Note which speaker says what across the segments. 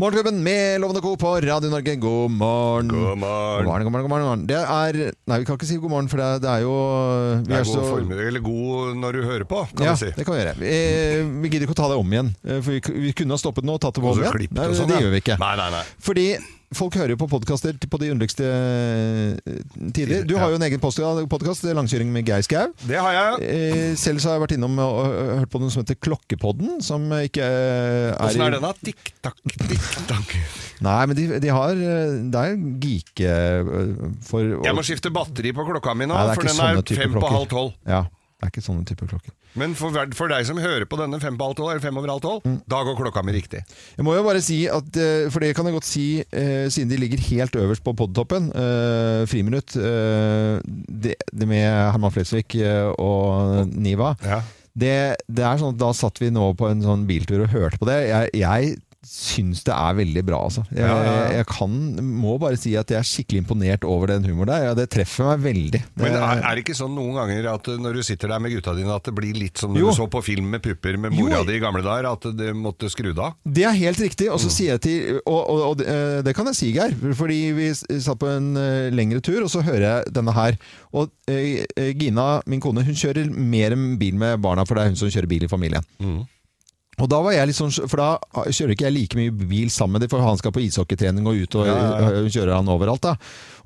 Speaker 1: Morgenklubben med Lovende Co. på Radio Norge, god morgen.
Speaker 2: God
Speaker 1: God
Speaker 2: morgen.
Speaker 1: morgen, god morgen, god morgen, god morgen. Det er Nei, vi kan ikke si god morgen, for det er, det er jo vi
Speaker 2: Det er
Speaker 1: er
Speaker 2: god
Speaker 1: så-
Speaker 2: formiddag, eller god når du hører på, kan
Speaker 1: ja,
Speaker 2: vi si.
Speaker 1: det kan vi gjøre. Vi, vi gidder ikke å ta det om igjen. eh, For vi, k- vi kunne ha stoppet nå og tatt det
Speaker 2: Og
Speaker 1: om
Speaker 2: så
Speaker 1: igjen.
Speaker 2: klippet
Speaker 1: Nei,
Speaker 2: og sånn,
Speaker 1: det
Speaker 2: ja.
Speaker 1: gjør vi ikke.
Speaker 2: Nei, nei, nei.
Speaker 1: Fordi folk hører jo på podkaster på de underligste eh, tider. Du har jo en egen podkast, 'Langkjøring med Geir Skau'.
Speaker 2: Det har jeg.
Speaker 1: Eh, Selv så har jeg vært innom og og hørt på noe som heter Klokkepodden. Som ikke eh, er
Speaker 2: Åssen
Speaker 1: i-
Speaker 2: er den da? Tikk takk, tikk takk.
Speaker 1: Nei, men de, de har eh, Det er geeke eh, for
Speaker 2: Jeg må skifte batteri på klokka mi nå,
Speaker 1: Nei, det er
Speaker 2: for
Speaker 1: ikke
Speaker 2: den er
Speaker 1: sånne typer
Speaker 2: fem på
Speaker 1: klokker.
Speaker 2: halv tolv.
Speaker 1: Ja. Det er ikke sånne typer klokker.
Speaker 2: Men for, hver- for deg som hører på denne fem på halv tolv, eller fem over halv tolv,
Speaker 1: Mm.
Speaker 2: da går klokka mi riktig.
Speaker 1: Jeg må jo bare si at eh, For det kan jeg godt si, eh, siden de ligger helt øverst på podtoppen, eh, Friminutt, eh, det, det med Herman Flesvig eh, og Niva
Speaker 2: Ja.
Speaker 1: det, det er sånn at Da satt vi nå på en sånn biltur og hørte på det. Jeg, jeg syns det er veldig bra, altså. Jeg,
Speaker 2: Ja, ja, ja.
Speaker 1: jeg kan, må bare si at jeg er skikkelig imponert over den humoren der. Ja, det treffer meg veldig.
Speaker 2: Men
Speaker 1: Det-
Speaker 2: er, er det ikke sånn noen ganger at uh, når du sitter der med gutta dine, at det blir litt som når
Speaker 1: Jo.
Speaker 2: du så på film med pupper med
Speaker 1: Jo,
Speaker 2: mora
Speaker 1: jeg-
Speaker 2: di i gamle dager, at det måtte skru det av?
Speaker 1: Det er helt riktig. Og så sier jeg til Og, og, og eh, det kan jeg si, Geir. Fordi vi s- satt på en eh, lengre tur, og så hører jeg denne her. Og eh, eh, Gina, min kone, hun kjører mer enn bil med barna, for det er hun som kjører bil i familien. Og da var jeg litt sånn, For da kjører ikke jeg like mye bil sammen med dem, for han skal på ishockeytrening og ut, og eh, hun kjører han overalt. da.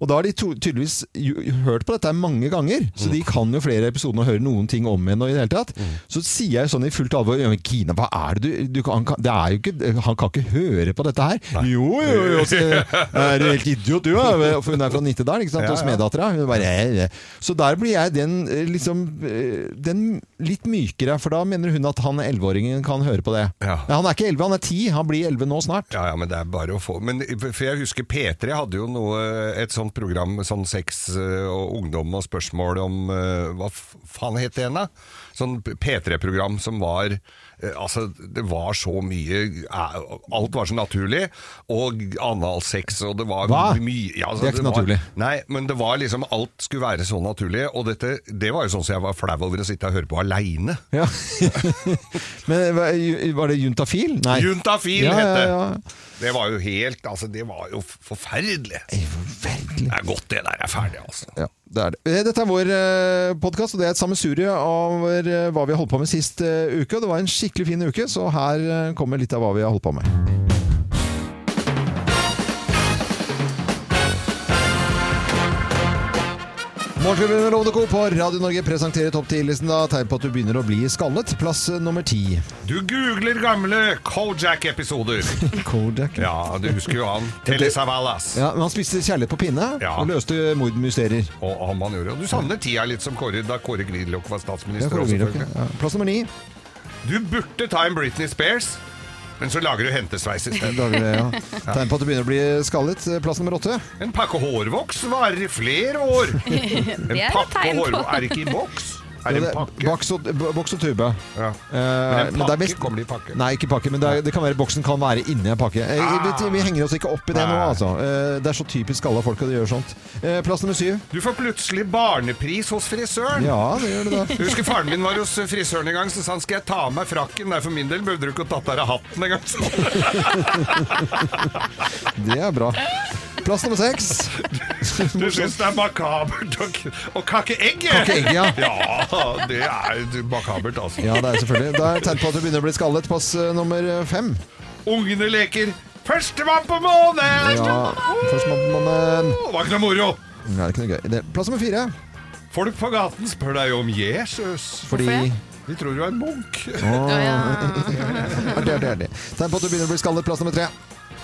Speaker 1: Og da har de to, tydeligvis jo, hørt på dette mange ganger, så
Speaker 2: Mm.
Speaker 1: de kan jo flere episoder og hører noen ting om igjen. og i det hele tatt. Så sier jeg sånn i fullt alvor «Ja, men 'Kina, hva er det du, du kan, han, kan, det er jo ikke, han kan ikke høre på dette her'. Jo, jo, jo, så, er du helt idiot, du, ja. For hun er fra Nittedal, ikke sant?
Speaker 2: Ja,
Speaker 1: og
Speaker 2: ja.
Speaker 1: smeddattera. Hun bare «Eh, eh». Så der blir jeg den, eh, liksom, eh, den litt mykere, for da mener hun at han 11-åringen kan høre på det.
Speaker 2: Ja.
Speaker 1: Nei, han er ikke 11, han er 10. Han blir 11 nå snart.
Speaker 2: Ja, ja, men det er bare å få men, For jeg husker P3 hadde jo noe, et sånt program Sånn sex eh, og ungdom og spørsmål om eh, Hva f- faen het det igjen da? Sånn P3-program som var eh, Altså, det var så mye eh, Alt var så naturlig Og analsex Og det var
Speaker 1: Hva?
Speaker 2: mye ja, altså,
Speaker 1: Det er ikke
Speaker 2: var,
Speaker 1: naturlig.
Speaker 2: Nei, men det var liksom Alt skulle være så naturlig Og dette, det var jo sånn som jeg var flau over Å sitte og høre på alene
Speaker 1: Ja. Men eh, hva- var det juntafil? Nei.
Speaker 2: Juntafil
Speaker 1: Ja,
Speaker 2: het det
Speaker 1: ja, ja.
Speaker 2: Det var jo helt, altså det var jo f- forferdelig
Speaker 1: Eh, Forferdelig.
Speaker 2: Det er godt det der er ferdig, altså.
Speaker 1: Ja, det er det. Eh, Dette er vår podkast, og det er et sammensurie av eh, hva vi holdt på med sist eh, uke. Det var en skikkelig fin uke, så her eh, kommer litt av hva vi har holdt på med. Morgenklubben med Lovende Co. på Radio Norge presenterer topp 10-listen. da. Tegn på at du begynner å bli skallet. Plass eh, nummer ti.
Speaker 2: Du googler gamle Kojak-episoder.
Speaker 1: Kodak. Ja.
Speaker 2: Ja, du husker jo han. Telly Savalas.
Speaker 1: men han spiste kjærlighet på pinne
Speaker 2: Ja.
Speaker 1: og løste mordmysterier.
Speaker 2: Og han man gjorde. Og du savner tida litt som Kåre da Kåre Gridlok var
Speaker 1: Ja,
Speaker 2: statsminister.
Speaker 1: Kåre
Speaker 2: også,
Speaker 1: Willoch,
Speaker 2: selvfølgelig.
Speaker 1: ja. Plass nummer ni.
Speaker 2: Du burde ta en Britney Spears, men så lager du hentesveis i stedet.
Speaker 1: Da vil jeg, ja. Tegn på at du begynner å bli skallet. Eh, Plass nummer åtte.
Speaker 2: En pakke hårvoks varer i flere år. En
Speaker 3: Det er et
Speaker 2: pakke
Speaker 3: tegn på-
Speaker 2: hårvoks Er det ikke i boks? Er
Speaker 1: Ja,
Speaker 2: det en
Speaker 1: det er
Speaker 2: pakke?
Speaker 1: Boks og, b- boks og tube.
Speaker 2: Ja.
Speaker 1: Eh,
Speaker 2: Men en
Speaker 1: men det er
Speaker 2: pakke
Speaker 1: best-
Speaker 2: kommer det i pakke.
Speaker 1: Nei, ikke pakke, men det, er, det kan være boksen kan være inni en pakke. Eh, vi, vi henger oss ikke opp i det nå,
Speaker 2: Nei.
Speaker 1: altså. Eh, det er så typisk skalla folk at de gjør sånt. Eh, plass nummer syv.
Speaker 2: Du får plutselig barnepris hos frisøren.
Speaker 1: Ja, det gjør det da.
Speaker 2: Jeg husker faren min var hos frisøren en gang, så sa han skal jeg ta av meg frakken. Nei, for min del behøvde du ikke å tatt av deg hatten engang. sa han.
Speaker 1: Det er bra. Plass nummer seks.
Speaker 2: Du syns det er makabert å, k- å kakke egg?
Speaker 1: Kakke egg, ja.
Speaker 2: Ja, det er makabert, altså.
Speaker 1: Ja, det er selvfølgelig. Da er det tegn på at du begynner å bli skallet. Pass eh, nummer fem.
Speaker 2: Ungene leker 'Førstemann på månen'!
Speaker 1: Ja, Førstemann
Speaker 2: Det var ikke noe moro.
Speaker 1: eh, Nei, det er ikke noe gøy. Det- Plass nummer fire.
Speaker 2: Folk på gaten spør deg om Jesus.
Speaker 1: Fordi
Speaker 3: Hvorfor det?
Speaker 2: De tror du er en munk.
Speaker 3: Å, ja.
Speaker 1: Artig, artig, artig. Tegn på at du begynner å bli skallet. Plass nummer tre.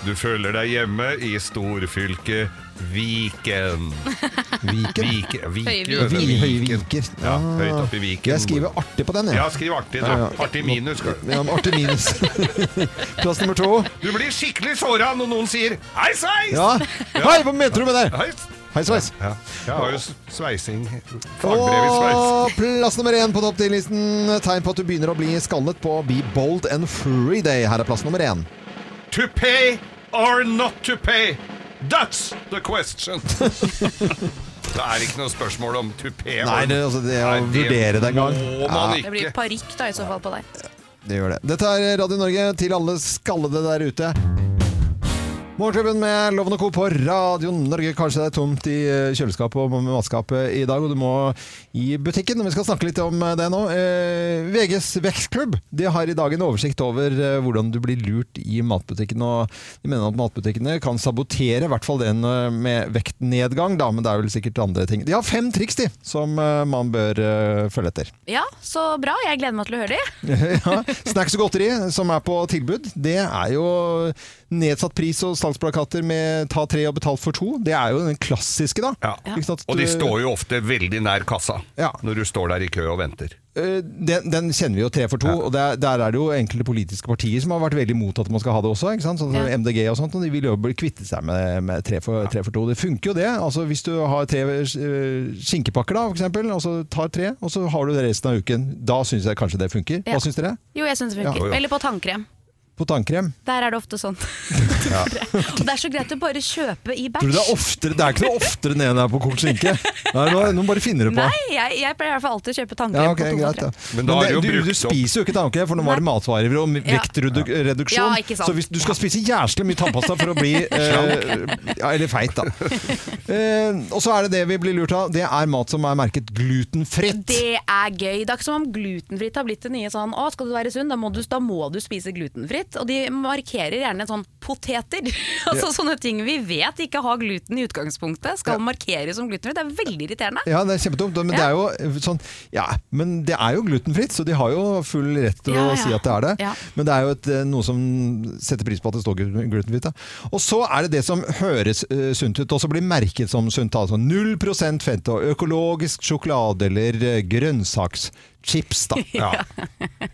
Speaker 2: Du føler deg hjemme i storfylket Viken.
Speaker 1: Viken.
Speaker 2: Vike, vike, Viken.
Speaker 3: Høyviken.
Speaker 1: Høyviker.
Speaker 2: Ja,
Speaker 1: Ah.
Speaker 2: høyt oppe i Viken.
Speaker 1: Jeg skriver artig på den, jeg.
Speaker 2: Ja, skriv artig,
Speaker 1: Ja,
Speaker 2: da.
Speaker 1: ja.
Speaker 2: Artig minus. skal du.
Speaker 1: Ja, men artig minus. Plass nummer to.
Speaker 2: Du blir skikkelig såra når noen sier 'hei, sveis'!
Speaker 1: Ja. Hei, hva mente du med det?
Speaker 2: Hei,
Speaker 1: Hei, sveis.
Speaker 2: Ja. Jeg har jo s- sveising. Fagbrev i sveis.
Speaker 1: Og plass nummer én på topp 10-listen. Tegn på at du begynner å bli skallet på Be Bold and Free Day. Her er plass nummer én.
Speaker 2: To pay or not to pay? That's the question! det er ikke noe spørsmål om to pay.
Speaker 1: Nei, det, altså, det å
Speaker 2: Nei,
Speaker 1: vurdere det en gang.
Speaker 2: Må
Speaker 1: Ja,
Speaker 2: man
Speaker 3: Det blir
Speaker 2: ikke.
Speaker 3: parykk da, i så fall, på deg.
Speaker 1: det gjør det. Dette er Radio Norge til alle skallede der ute. Morgenklubben med Loven og Co. på Radio Norge. Kanskje det er tomt i eh, kjøleskapet og matskapet i dag, og du må i butikken. Og vi skal snakke litt om eh, det nå. Eh, VGs vekstklubb de har i dag en oversikt over eh, hvordan du blir lurt i matbutikken. og De mener at matbutikkene kan sabotere, i hvert fall den eh, med vektnedgang, da, men det er vel sikkert andre ting. De har fem triks de, som eh, man bør eh, følge etter.
Speaker 3: Ja, så bra. Jeg gleder meg til å høre det.
Speaker 1: ja. Snacks og godteri som er på tilbud, det er jo nedsatt pris og salgsplakater med 'ta tre og betal for to'. Det er jo den klassiske, da.
Speaker 2: Ja.
Speaker 1: Ikke sant?
Speaker 2: Og de står jo ofte veldig nær kassa
Speaker 1: Ja.
Speaker 2: når du står der i kø og venter.
Speaker 1: Eh, Den, den kjenner vi jo, tre for to. Og der, der er det jo enkelte politiske partier som har vært veldig imot at man skal ha det også. Ikke sant? Sånn som
Speaker 3: Ja.
Speaker 1: MDG og sånt. Og de vil jo bli kvitte seg med, med tre, for, tre for to. Det funker jo det. Altså, hvis du har tre eh, skinkepakker, da, for eksempel, og så tar tre, og så har du det resten av uken. Da syns jeg kanskje det funker.
Speaker 3: Ja.
Speaker 1: Hva syns dere?
Speaker 3: Jo, jeg syns det funker.
Speaker 2: Ja, jo, jo.
Speaker 3: Eller på tannkrem.
Speaker 1: På tannkrem?
Speaker 3: Der er det ofte sånn. Og det er så greit å bare kjøpe i
Speaker 1: Tror du det er
Speaker 3: batch.
Speaker 1: oftere Det er ikke noe oftere ned enn det er på kort skinke. Nei, nå, nå bare finner du på.
Speaker 3: Nei, jeg, jeg pleier i hvert fall alltid å kjøpe tannkrem
Speaker 1: Ja, ok,
Speaker 3: på to
Speaker 1: greit da.
Speaker 3: tannkrem.
Speaker 2: Men da har
Speaker 1: det-
Speaker 2: du jo
Speaker 1: du,
Speaker 2: brukt
Speaker 1: du
Speaker 2: opp-
Speaker 1: spiser jo ikke tannkrem, for nå var det matvarer og
Speaker 3: Ja.
Speaker 1: vektreduksjon.
Speaker 3: Ja, ikke sant.
Speaker 1: så hvis du skal spise jæslig mye tannpasta for å bli eh, ja, Eller feit, da. Eh, og så er det det vi blir lurt av. Det er mat som er merket glutenfritt.
Speaker 3: Det er gøy. Det er ikke som om glutenfritt har blitt det nye sånn Å, skal du være sunn, da må du, da må du spise glutenfritt. Og de markerer gjerne sånn poteter. altså sånne ting vi vet ikke har gluten i utgangspunktet, skal markeres som glutenfritt. Det er veldig irriterende.
Speaker 1: Ja, det er kjempedumt, men det er jo eh, sånn Ja, men det er jo glutenfritt, så de har jo full rett til
Speaker 3: Ja,
Speaker 1: å
Speaker 3: ja.
Speaker 1: si at det er det.
Speaker 3: Ja.
Speaker 1: Men det er jo et, eh, noe som setter pris på at det står glu- glutenfritt. Da. Og så er det det som høres eh, sunt ut, og så blir merket som sunt. Altså 0 fett og økologisk sjokolade eller eh, grønnsakschips, da.
Speaker 2: Ja.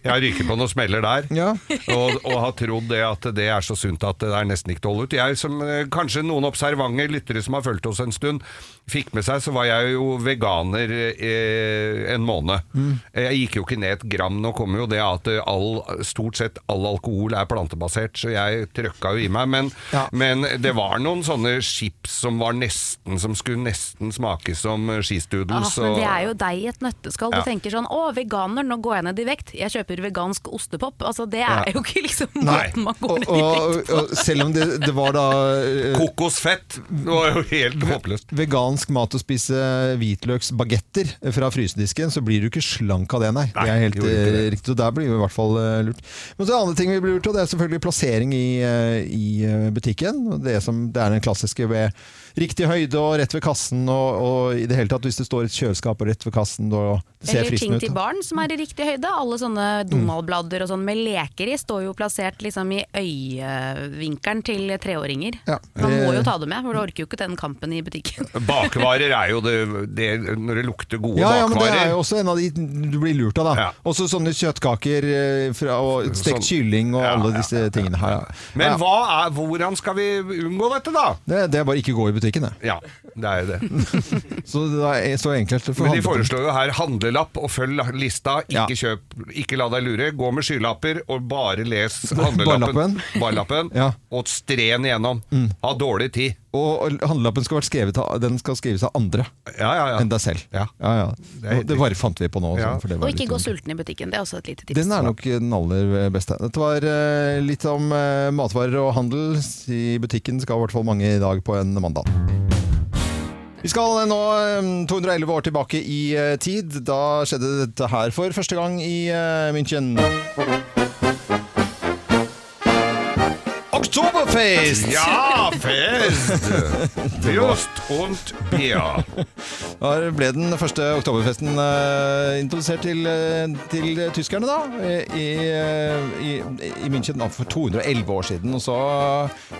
Speaker 2: Jeg ryker på noen smeller der.
Speaker 1: Ja.
Speaker 2: og, og har trodd det at det er så sunt at det er nesten ikke til å holde ut. Jeg som eh, kanskje noen observante lyttere som har fulgt oss en stund, fikk med seg, så var jeg jo veganer eh, en måned. Jeg gikk jo ikke ned et gram. Nå kommer jo det at eh, all, stort sett all alkohol er plantebasert, så jeg trøkka jo i meg. Men,
Speaker 1: Ja.
Speaker 2: men det var noen sånne chips som var nesten, som skulle nesten smake som eh,
Speaker 3: Ah,
Speaker 2: skistoodles.
Speaker 3: men
Speaker 2: og-
Speaker 3: det er jo deg i et nøtteskall.
Speaker 2: Ja.
Speaker 3: Du tenker sånn 'Å, veganer, nå går jeg ned i vekt. Jeg kjøper vegansk ostepop'. Altså, det er
Speaker 2: Ja.
Speaker 3: jo ikke liksom
Speaker 2: Nei.
Speaker 3: måten man
Speaker 1: Og,
Speaker 3: går ned i
Speaker 1: og,
Speaker 3: vekt på.
Speaker 1: og selv om det, det var da eh,
Speaker 2: Kokosfett! Det var jo helt håpløst.
Speaker 1: vegansk mat å spise hvitløksbagetter fra frysedisken, så blir du ikke slank av det, nei. det er helt
Speaker 2: gjorde ikke
Speaker 1: eh,
Speaker 2: det.
Speaker 1: riktig, og der blir vi i hvert fall eh, lurt. Men så er det andre ting vi blir lurt av, det er selvfølgelig plassering i, eh, i eh, butikken. og Det, som, det er den klassiske ved riktig høyde og rett ved kassen, og, og i det hele tatt hvis det står et kjøleskap og rett ved kassen, da ser
Speaker 3: Eller ting
Speaker 1: fristende ut.
Speaker 3: til
Speaker 1: da. Mm.
Speaker 3: barn som er i riktig høyde. Alle sånne Donald-blader og sånn med leker i står jo plassert liksom i øyevinkelen til treåringer.
Speaker 1: Ja.
Speaker 3: Man må
Speaker 1: Det-
Speaker 3: jo ta det med, for du orker jo ikke den kampen i butikken.
Speaker 2: Bakvarer er jo det, det Når det lukter gode
Speaker 1: Ja, ja, men det
Speaker 2: bakvarer
Speaker 1: er jo også en av de du blir lurt av, da.
Speaker 2: Ja.
Speaker 1: Også sånne kjøttkaker eh, fra, og stekt
Speaker 2: Sånn-
Speaker 1: kylling og
Speaker 2: Ja,
Speaker 1: alle
Speaker 2: ja,
Speaker 1: disse tingene her. Ja.
Speaker 2: Men
Speaker 1: ja.
Speaker 2: hva er, hvordan skal vi unngå dette, da?
Speaker 1: Det, det er bare ikke gå i butikken, det.
Speaker 2: Ja, det er jo det.
Speaker 1: Så det er så enkelt for
Speaker 2: Men de
Speaker 1: handlingen.
Speaker 2: foreslår jo her handlelapp og følg lista.
Speaker 1: Ja.
Speaker 2: Ikke kjøp, ikke la deg lure. Gå med skylapper og bare les handlelappen.
Speaker 1: Barlappen.
Speaker 2: Barlappen.
Speaker 1: Ja. Mm.
Speaker 2: Og stren igjennom. Ha dårlig tid.
Speaker 1: Og handlelappen skal, være skrevet av, den skal skrives av andre
Speaker 2: Ja, ja, ja.
Speaker 1: enn deg selv.
Speaker 2: Ja.
Speaker 1: Ja, ja.
Speaker 2: er helt
Speaker 1: Det, bare fant vi på nå.
Speaker 2: Ja.
Speaker 1: sånn, for det var
Speaker 3: Og ikke
Speaker 1: litt-
Speaker 3: gå sulten i butikken, det er også et lite tips.
Speaker 1: Den er nok den aller beste. Dette var eh, litt om eh, matvarer og handel. I butikken skal i hvert fall mange i dag på en mandag. Vi skal nå eh, 211 år tilbake i eh, tid. Da skjedde dette her for første gang i eh, München. Oktoberfest!
Speaker 2: Ja, fest! Just und Bier.
Speaker 1: Da ble den første oktoberfesten eh, introdusert til, eh, til tyskerne, da. eh, I, eh, i, I München da, for 211 år siden. Og så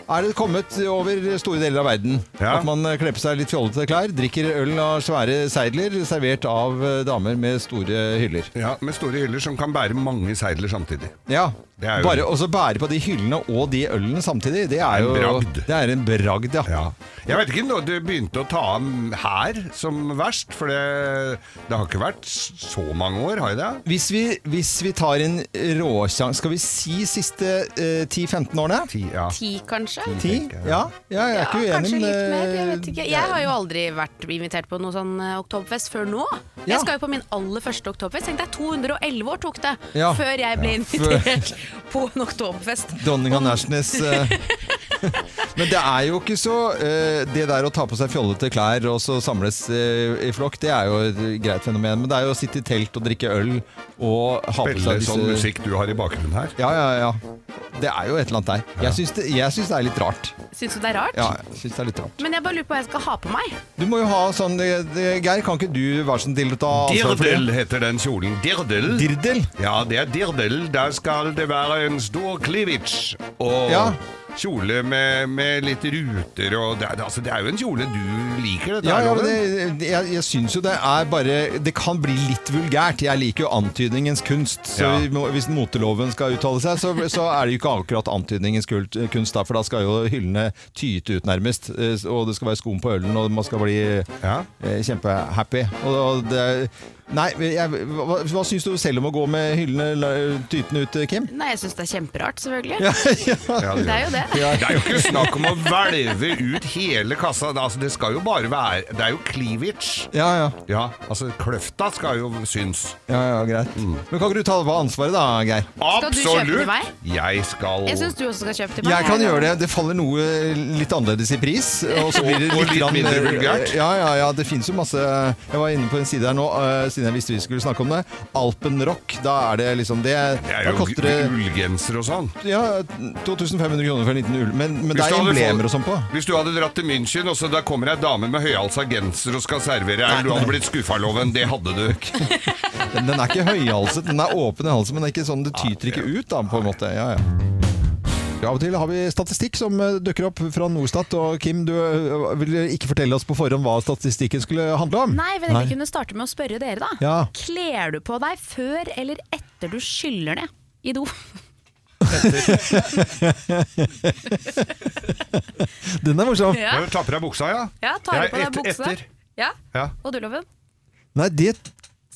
Speaker 1: er det kommet over store deler av verden.
Speaker 2: Ja.
Speaker 1: At man eh, kler på seg litt fjollete klær, drikker øl av svære seidler, servert av eh, damer med store hyller.
Speaker 2: Ja, med store hyller som kan bære mange seidler samtidig.
Speaker 1: Ja.
Speaker 2: Det er jo-
Speaker 1: Bare å så bære på de hyllene og de ølene samtidig, det er
Speaker 2: En
Speaker 1: jo
Speaker 2: bragd.
Speaker 1: Det er en bragd, ja.
Speaker 2: Ja. Jeg vet ikke når det begynte å ta av her som verst, for det, det har ikke vært så mange år, har jeg det?
Speaker 1: Hvis vi, hvis vi tar en råsjanse Skal vi si siste eh, 10-15 årene?
Speaker 2: Ti, ja.
Speaker 3: Ti, kanskje?
Speaker 1: Ti?
Speaker 2: tenker jeg.
Speaker 1: Ja, ja, jeg er
Speaker 3: Ja,
Speaker 1: ikke uenig.
Speaker 3: kanskje
Speaker 1: men,
Speaker 3: litt mer, jeg vet
Speaker 1: eh,
Speaker 3: ikke. Jeg har jo aldri vært invitert på noe sånn eh, oktoberfest før nå.
Speaker 1: Ja.
Speaker 3: Jeg skal jo på min aller første oktoberfest. Tenk deg, 211 år tok det
Speaker 1: Ja.
Speaker 3: før jeg ble invitert på en oktoberfest.
Speaker 1: Dronning av Nashnes eh, Men det er jo ikke så eh, Det der å ta på seg fjollete klær og så samles eh, i flokk, det er jo et greit fenomen. Men det er jo å sitte i telt og drikke øl og ha på
Speaker 2: Veldig
Speaker 1: seg
Speaker 2: sånn
Speaker 1: disse
Speaker 2: musikk du har i bakgrunnen her.
Speaker 1: ja, ja, ja. Det er jo et eller annet der. Jeg syns det, jeg syns det er litt rart.
Speaker 3: Syns du det er rart?
Speaker 1: Ja, jeg syns det er litt rart.
Speaker 3: Men jeg bare lurer på hva jeg skal ha på meg.
Speaker 1: Du må jo ha sånn eh, det- Geir, kan ikke du være sånn så snill å ta ansvar for
Speaker 2: Dirdel
Speaker 1: det?
Speaker 2: heter den kjolen. Dirdel.
Speaker 1: Dirdel?
Speaker 2: Ja, det er dirdel. Der skal det være en stor cleavage og
Speaker 1: Ja.
Speaker 2: kjole med, med litt ruter og det, er- altså, det er jo en kjole du liker, dette
Speaker 1: Ja,
Speaker 2: her,
Speaker 1: ja, men
Speaker 2: Loven.
Speaker 1: det, det- jeg, jeg syns jo det er bare Det kan bli litt vulgært. Jeg liker jo antydningens kunst. Så
Speaker 2: Ja.
Speaker 1: vi må, hvis moteloven skal uttale seg, så, så er det jo ikke akkurat antydningens kult, kunst, da, for da skal jo hyllene tyte ut nærmest. eh, Og det skal være skum på ølen, og man skal bli
Speaker 2: Ja.
Speaker 1: eh, kjempehappy. Og, og det Nei, jeg, hva, hva syns du selv om å gå med hyllene la- tytende ut, eh, Kim?
Speaker 3: Nei, jeg syns det er kjemperart, selvfølgelig.
Speaker 2: Ja, det,
Speaker 3: Det er jo det.
Speaker 2: Det er jo ikke snakk om å hvelve ut hele kassa. Altså, det skal jo bare være Det er jo cleavage.
Speaker 1: Ja, ja.
Speaker 2: Ja, altså kløfta skal jo syns.
Speaker 1: ja, ja greit.
Speaker 2: Mm.
Speaker 1: Men kan ikke du ta på ansvaret da, Geir?
Speaker 3: Skal du kjøpe til meg?
Speaker 2: Jeg skal
Speaker 3: Jeg syns du også skal kjøpe til meg.
Speaker 1: Jeg kan gjøre det. Det faller noe litt annerledes i pris. Og så blir det
Speaker 2: Og
Speaker 1: litt,
Speaker 2: litt
Speaker 1: grann- eh,
Speaker 2: mindre vulgært.
Speaker 1: Ja, ja, ja. Det fins jo masse Jeg var inne på en side her nå, eh, siden jeg visste vi skulle snakke om det. Alpenrock. Da er det liksom det
Speaker 2: Det er
Speaker 1: Da
Speaker 2: jo
Speaker 1: koster det
Speaker 2: ullgenser og sånn.
Speaker 1: ja, 2500 kroner for en liten ull. Men, men det
Speaker 2: Hvis
Speaker 1: er
Speaker 2: du hadde
Speaker 1: emblemer og
Speaker 2: fått-
Speaker 1: sånn på.
Speaker 2: Hvis du hadde dratt til München, og så der kommer ei dame med høyhalsa genser og skal servere deg, du hadde blitt skuffa, Loven. Det hadde du ikke.
Speaker 1: Den, den er ikke høyhalset. Den er åpen i halsen, men det er ikke sånn, det tyter ikke ut, da, på en måte. Ja, ja. Av og til har vi statistikk som eh, dukker opp fra Norstat. Og Kim, du eh, ville ikke fortelle oss på forhånd hva statistikken skulle handle om.
Speaker 3: Nei, men jeg kunne starte med å spørre dere, da.
Speaker 1: Ja.
Speaker 3: Kler du på deg før eller etter du skyller ned i do?
Speaker 1: Den er morsom.
Speaker 3: Ja,
Speaker 2: Du tar på deg buksa, ja?
Speaker 3: ja tar du på
Speaker 2: Ja,
Speaker 3: deg
Speaker 2: et-
Speaker 3: buksa?
Speaker 2: Etter.
Speaker 3: Ja.
Speaker 2: Ja.
Speaker 3: Og du, Loven?
Speaker 1: Nei, det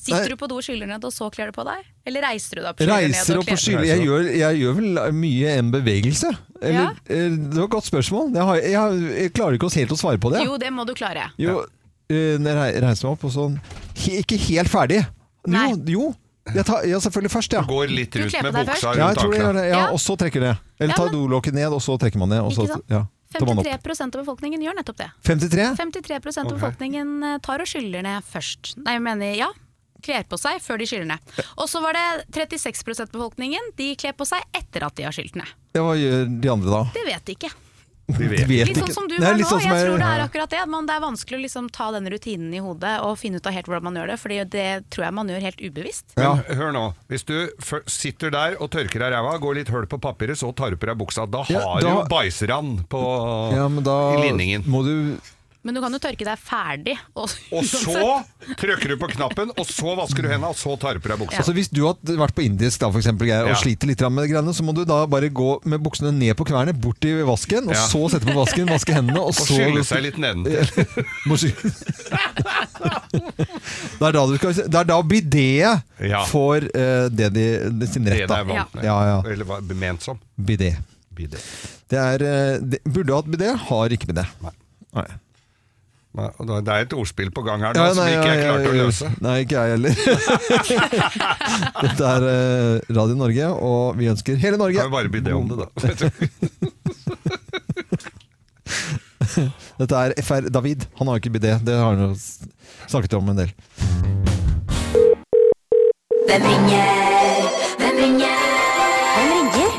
Speaker 1: Nei.
Speaker 3: Sitter du på do og skyller ned, og så kler du på deg? Eller reiser du deg opp, skyller ned
Speaker 1: reiser
Speaker 3: og
Speaker 1: opp og
Speaker 3: kler
Speaker 1: skyller jeg gjør, jeg gjør vel mye en bevegelse. Eller, eh, Det var et godt spørgsmål. Jeg, har, jeg, har- jeg klarer ikke oss helt å svare på det.
Speaker 3: Jo, det må du klare.
Speaker 1: Jo, eh, når jeg reiser meg opp og sånn he, Ikke helt ferdig.
Speaker 3: Nei.
Speaker 1: Jo, jo. Jeg tar, ja, selvfølgelig først, ja.
Speaker 2: Går litt
Speaker 3: Du
Speaker 2: rundt
Speaker 3: kler på
Speaker 2: med buksa
Speaker 3: deg først?
Speaker 1: Ja, jeg
Speaker 2: rundt
Speaker 1: tror jeg gjør
Speaker 2: ankelen.
Speaker 1: det. Ja,
Speaker 3: Ja.
Speaker 1: og så trekker det. Eller
Speaker 3: Ja,
Speaker 1: tar
Speaker 3: men-
Speaker 1: dolokket ned, og så trekker man ned. Og så,
Speaker 3: Ikke sant?
Speaker 1: ja, tar man opp.
Speaker 3: 53 av befolkningen gjør nettopp det.
Speaker 1: 53?
Speaker 3: 53 av befolkningen eh, tar og skyller ned først. Nei, jeg mener ja. Kler på seg før de skyller ned. Og så var det 36 av befolkningen de kler på seg etter at de har skylt ned.
Speaker 1: Ja, hva gjør de andre da?
Speaker 3: Det vet de ikke.
Speaker 2: Vi
Speaker 1: De
Speaker 2: vet.
Speaker 1: vet
Speaker 3: Litt sånn
Speaker 1: ikke.
Speaker 3: som du
Speaker 1: Det er
Speaker 3: var nå.
Speaker 1: litt sånn som
Speaker 3: jeg
Speaker 1: jeg-
Speaker 3: tror det er akkurat det. Men det er vanskelig å liksom ta den rutinen i hodet og finne ut av helt hvordan man gjør det, Fordi det tror jeg man gjør helt ubevisst.
Speaker 1: Ja.
Speaker 2: Men hør nå, hvis du fø- sitter der og tørker deg ræva, går litt høl på papiret, så tar du på deg buksa. Da
Speaker 1: Ja,
Speaker 2: har
Speaker 1: da-
Speaker 2: du bæsjrann på
Speaker 1: Ja, men da
Speaker 2: i linningen.
Speaker 1: må du
Speaker 3: Men du kan jo tørke deg ferdig. Og,
Speaker 2: Og så trykker du på knappen, og så vasker du hendene, og så tar du på deg buksa.
Speaker 1: Altså Hvis du har vært på indisk da, for eksempel, Geir, og
Speaker 2: Ja.
Speaker 1: sliter litt med det greiene, så må du da bare gå med buksene ned på knærne, bort til vasken, og
Speaker 2: Ja.
Speaker 1: så sette på vasken, vaske hendene, og
Speaker 2: Og
Speaker 1: så
Speaker 2: skylle seg litt nedentil.
Speaker 1: Må sky- det, er da du skal, det er da bidéet
Speaker 2: Ja.
Speaker 1: får eh, det de, det sin
Speaker 2: Det
Speaker 1: rett.
Speaker 2: det
Speaker 1: Da.
Speaker 2: er vant med.
Speaker 1: Ja, ja.
Speaker 2: Eller hva ment som.
Speaker 1: Bidé.
Speaker 2: Bidé.
Speaker 1: Det er, eh, det, burde hatt bidé, har ikke bidé.
Speaker 2: Nei.
Speaker 1: Nei.
Speaker 2: Nei, og da- Det er et ordspill på gang her nå
Speaker 1: Ja,
Speaker 2: som
Speaker 1: nei,
Speaker 2: ikke jeg
Speaker 1: ja,
Speaker 2: klarte
Speaker 1: ja,
Speaker 2: å
Speaker 1: ja.
Speaker 2: løse.
Speaker 1: Nei, ikke jeg heller. Dette er eh, Radio Norge, og vi ønsker hele Norge
Speaker 2: Kan vi bare bidé om det, da.
Speaker 1: Dette er FR David. Han har jo ikke bidé. Det har han jo s- snakket om en del.
Speaker 4: Hvem ringer? Hvem ringer? Hvem ringer?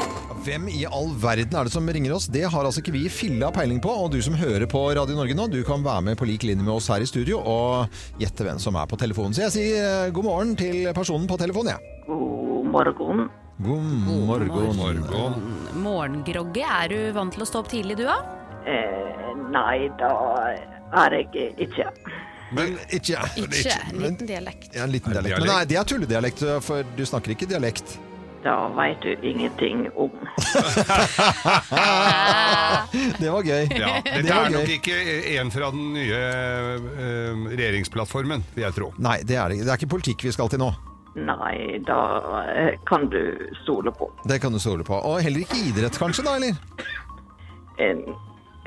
Speaker 1: Hvem i all verden er det som ringer oss? Det har altså ikke vi filla peiling på. Og du som hører på Radio Norge nå, du kan være med på lik linje med oss her i studio og gjette hvem som er på telefonen. Så jeg sier eh, god morgen til personen på telefonen, jeg.
Speaker 5: God morgen.
Speaker 1: God morgen.
Speaker 2: Morgen.
Speaker 3: Morgengrogge, er du vant til å stå opp tidlig du, da?
Speaker 5: Eh, nei, da er jeg ikke.
Speaker 1: Men ikke
Speaker 3: Ikke. En liten dialekt.
Speaker 1: Ja, en liten
Speaker 2: Er
Speaker 1: dialekt.
Speaker 2: det
Speaker 1: Men
Speaker 2: dialekt?
Speaker 1: nei, det er tulledialekt, for du snakker ikke dialekt.
Speaker 5: Da veit du ingenting om.
Speaker 1: Det var gøy.
Speaker 2: Ja,
Speaker 1: Det
Speaker 2: dette
Speaker 1: var
Speaker 2: er nok
Speaker 1: gøy.
Speaker 2: ikke en fra den nye eh, regjeringsplattformen, vil jeg tro.
Speaker 1: Nei, det er det ikke. Det er ikke politikk vi skal til nå.
Speaker 5: Nei, da eh, kan du stole på.
Speaker 1: Det kan du stole på. Og heller ikke idrett, kanskje, da, eller?
Speaker 5: En,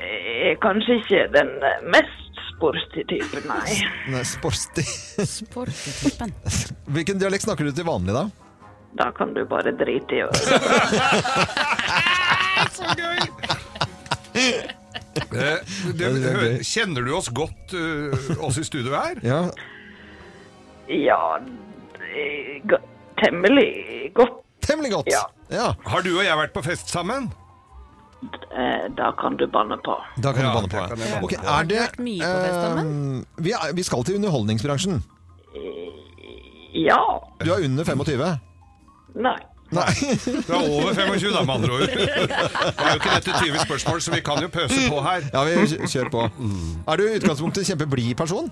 Speaker 5: eh, kanskje ikke den mest sporty typen, nei.
Speaker 1: Nei, sportslig.
Speaker 3: Sportetypen.
Speaker 1: Hvilken dialekt snakker du til vanlig, da?
Speaker 5: Da kan du bare drite i å
Speaker 2: Så gøy! Eh, det,
Speaker 1: det er
Speaker 2: hø-
Speaker 1: gøy.
Speaker 2: kjenner du oss godt, eh, oss i studio her?
Speaker 1: Ja,
Speaker 5: Ja, det er go- temmelig godt.
Speaker 1: temmelig godt.
Speaker 5: Ja.
Speaker 1: Ja,
Speaker 2: Har du og jeg vært på fest sammen?
Speaker 5: Eh, Da kan du banne på.
Speaker 1: Da kan
Speaker 2: Ja,
Speaker 1: du banne på.
Speaker 2: da kan jeg banne
Speaker 1: Ok, er
Speaker 2: på.
Speaker 1: det,
Speaker 3: Har du vært mye på fest
Speaker 1: eh, vi, er, vi skal til underholdningsbransjen.
Speaker 5: Ja.
Speaker 1: Du er under 25.
Speaker 5: Nei.
Speaker 1: Nei.
Speaker 2: Du er over 25, da, med andre ord. Det er jo ikke dette 20 spørsmål, så vi kan jo pøse på her.
Speaker 1: Ja, vi kjø- kjører på.
Speaker 2: Mm.
Speaker 1: Er du i utgangspunktet en kjempeblid person?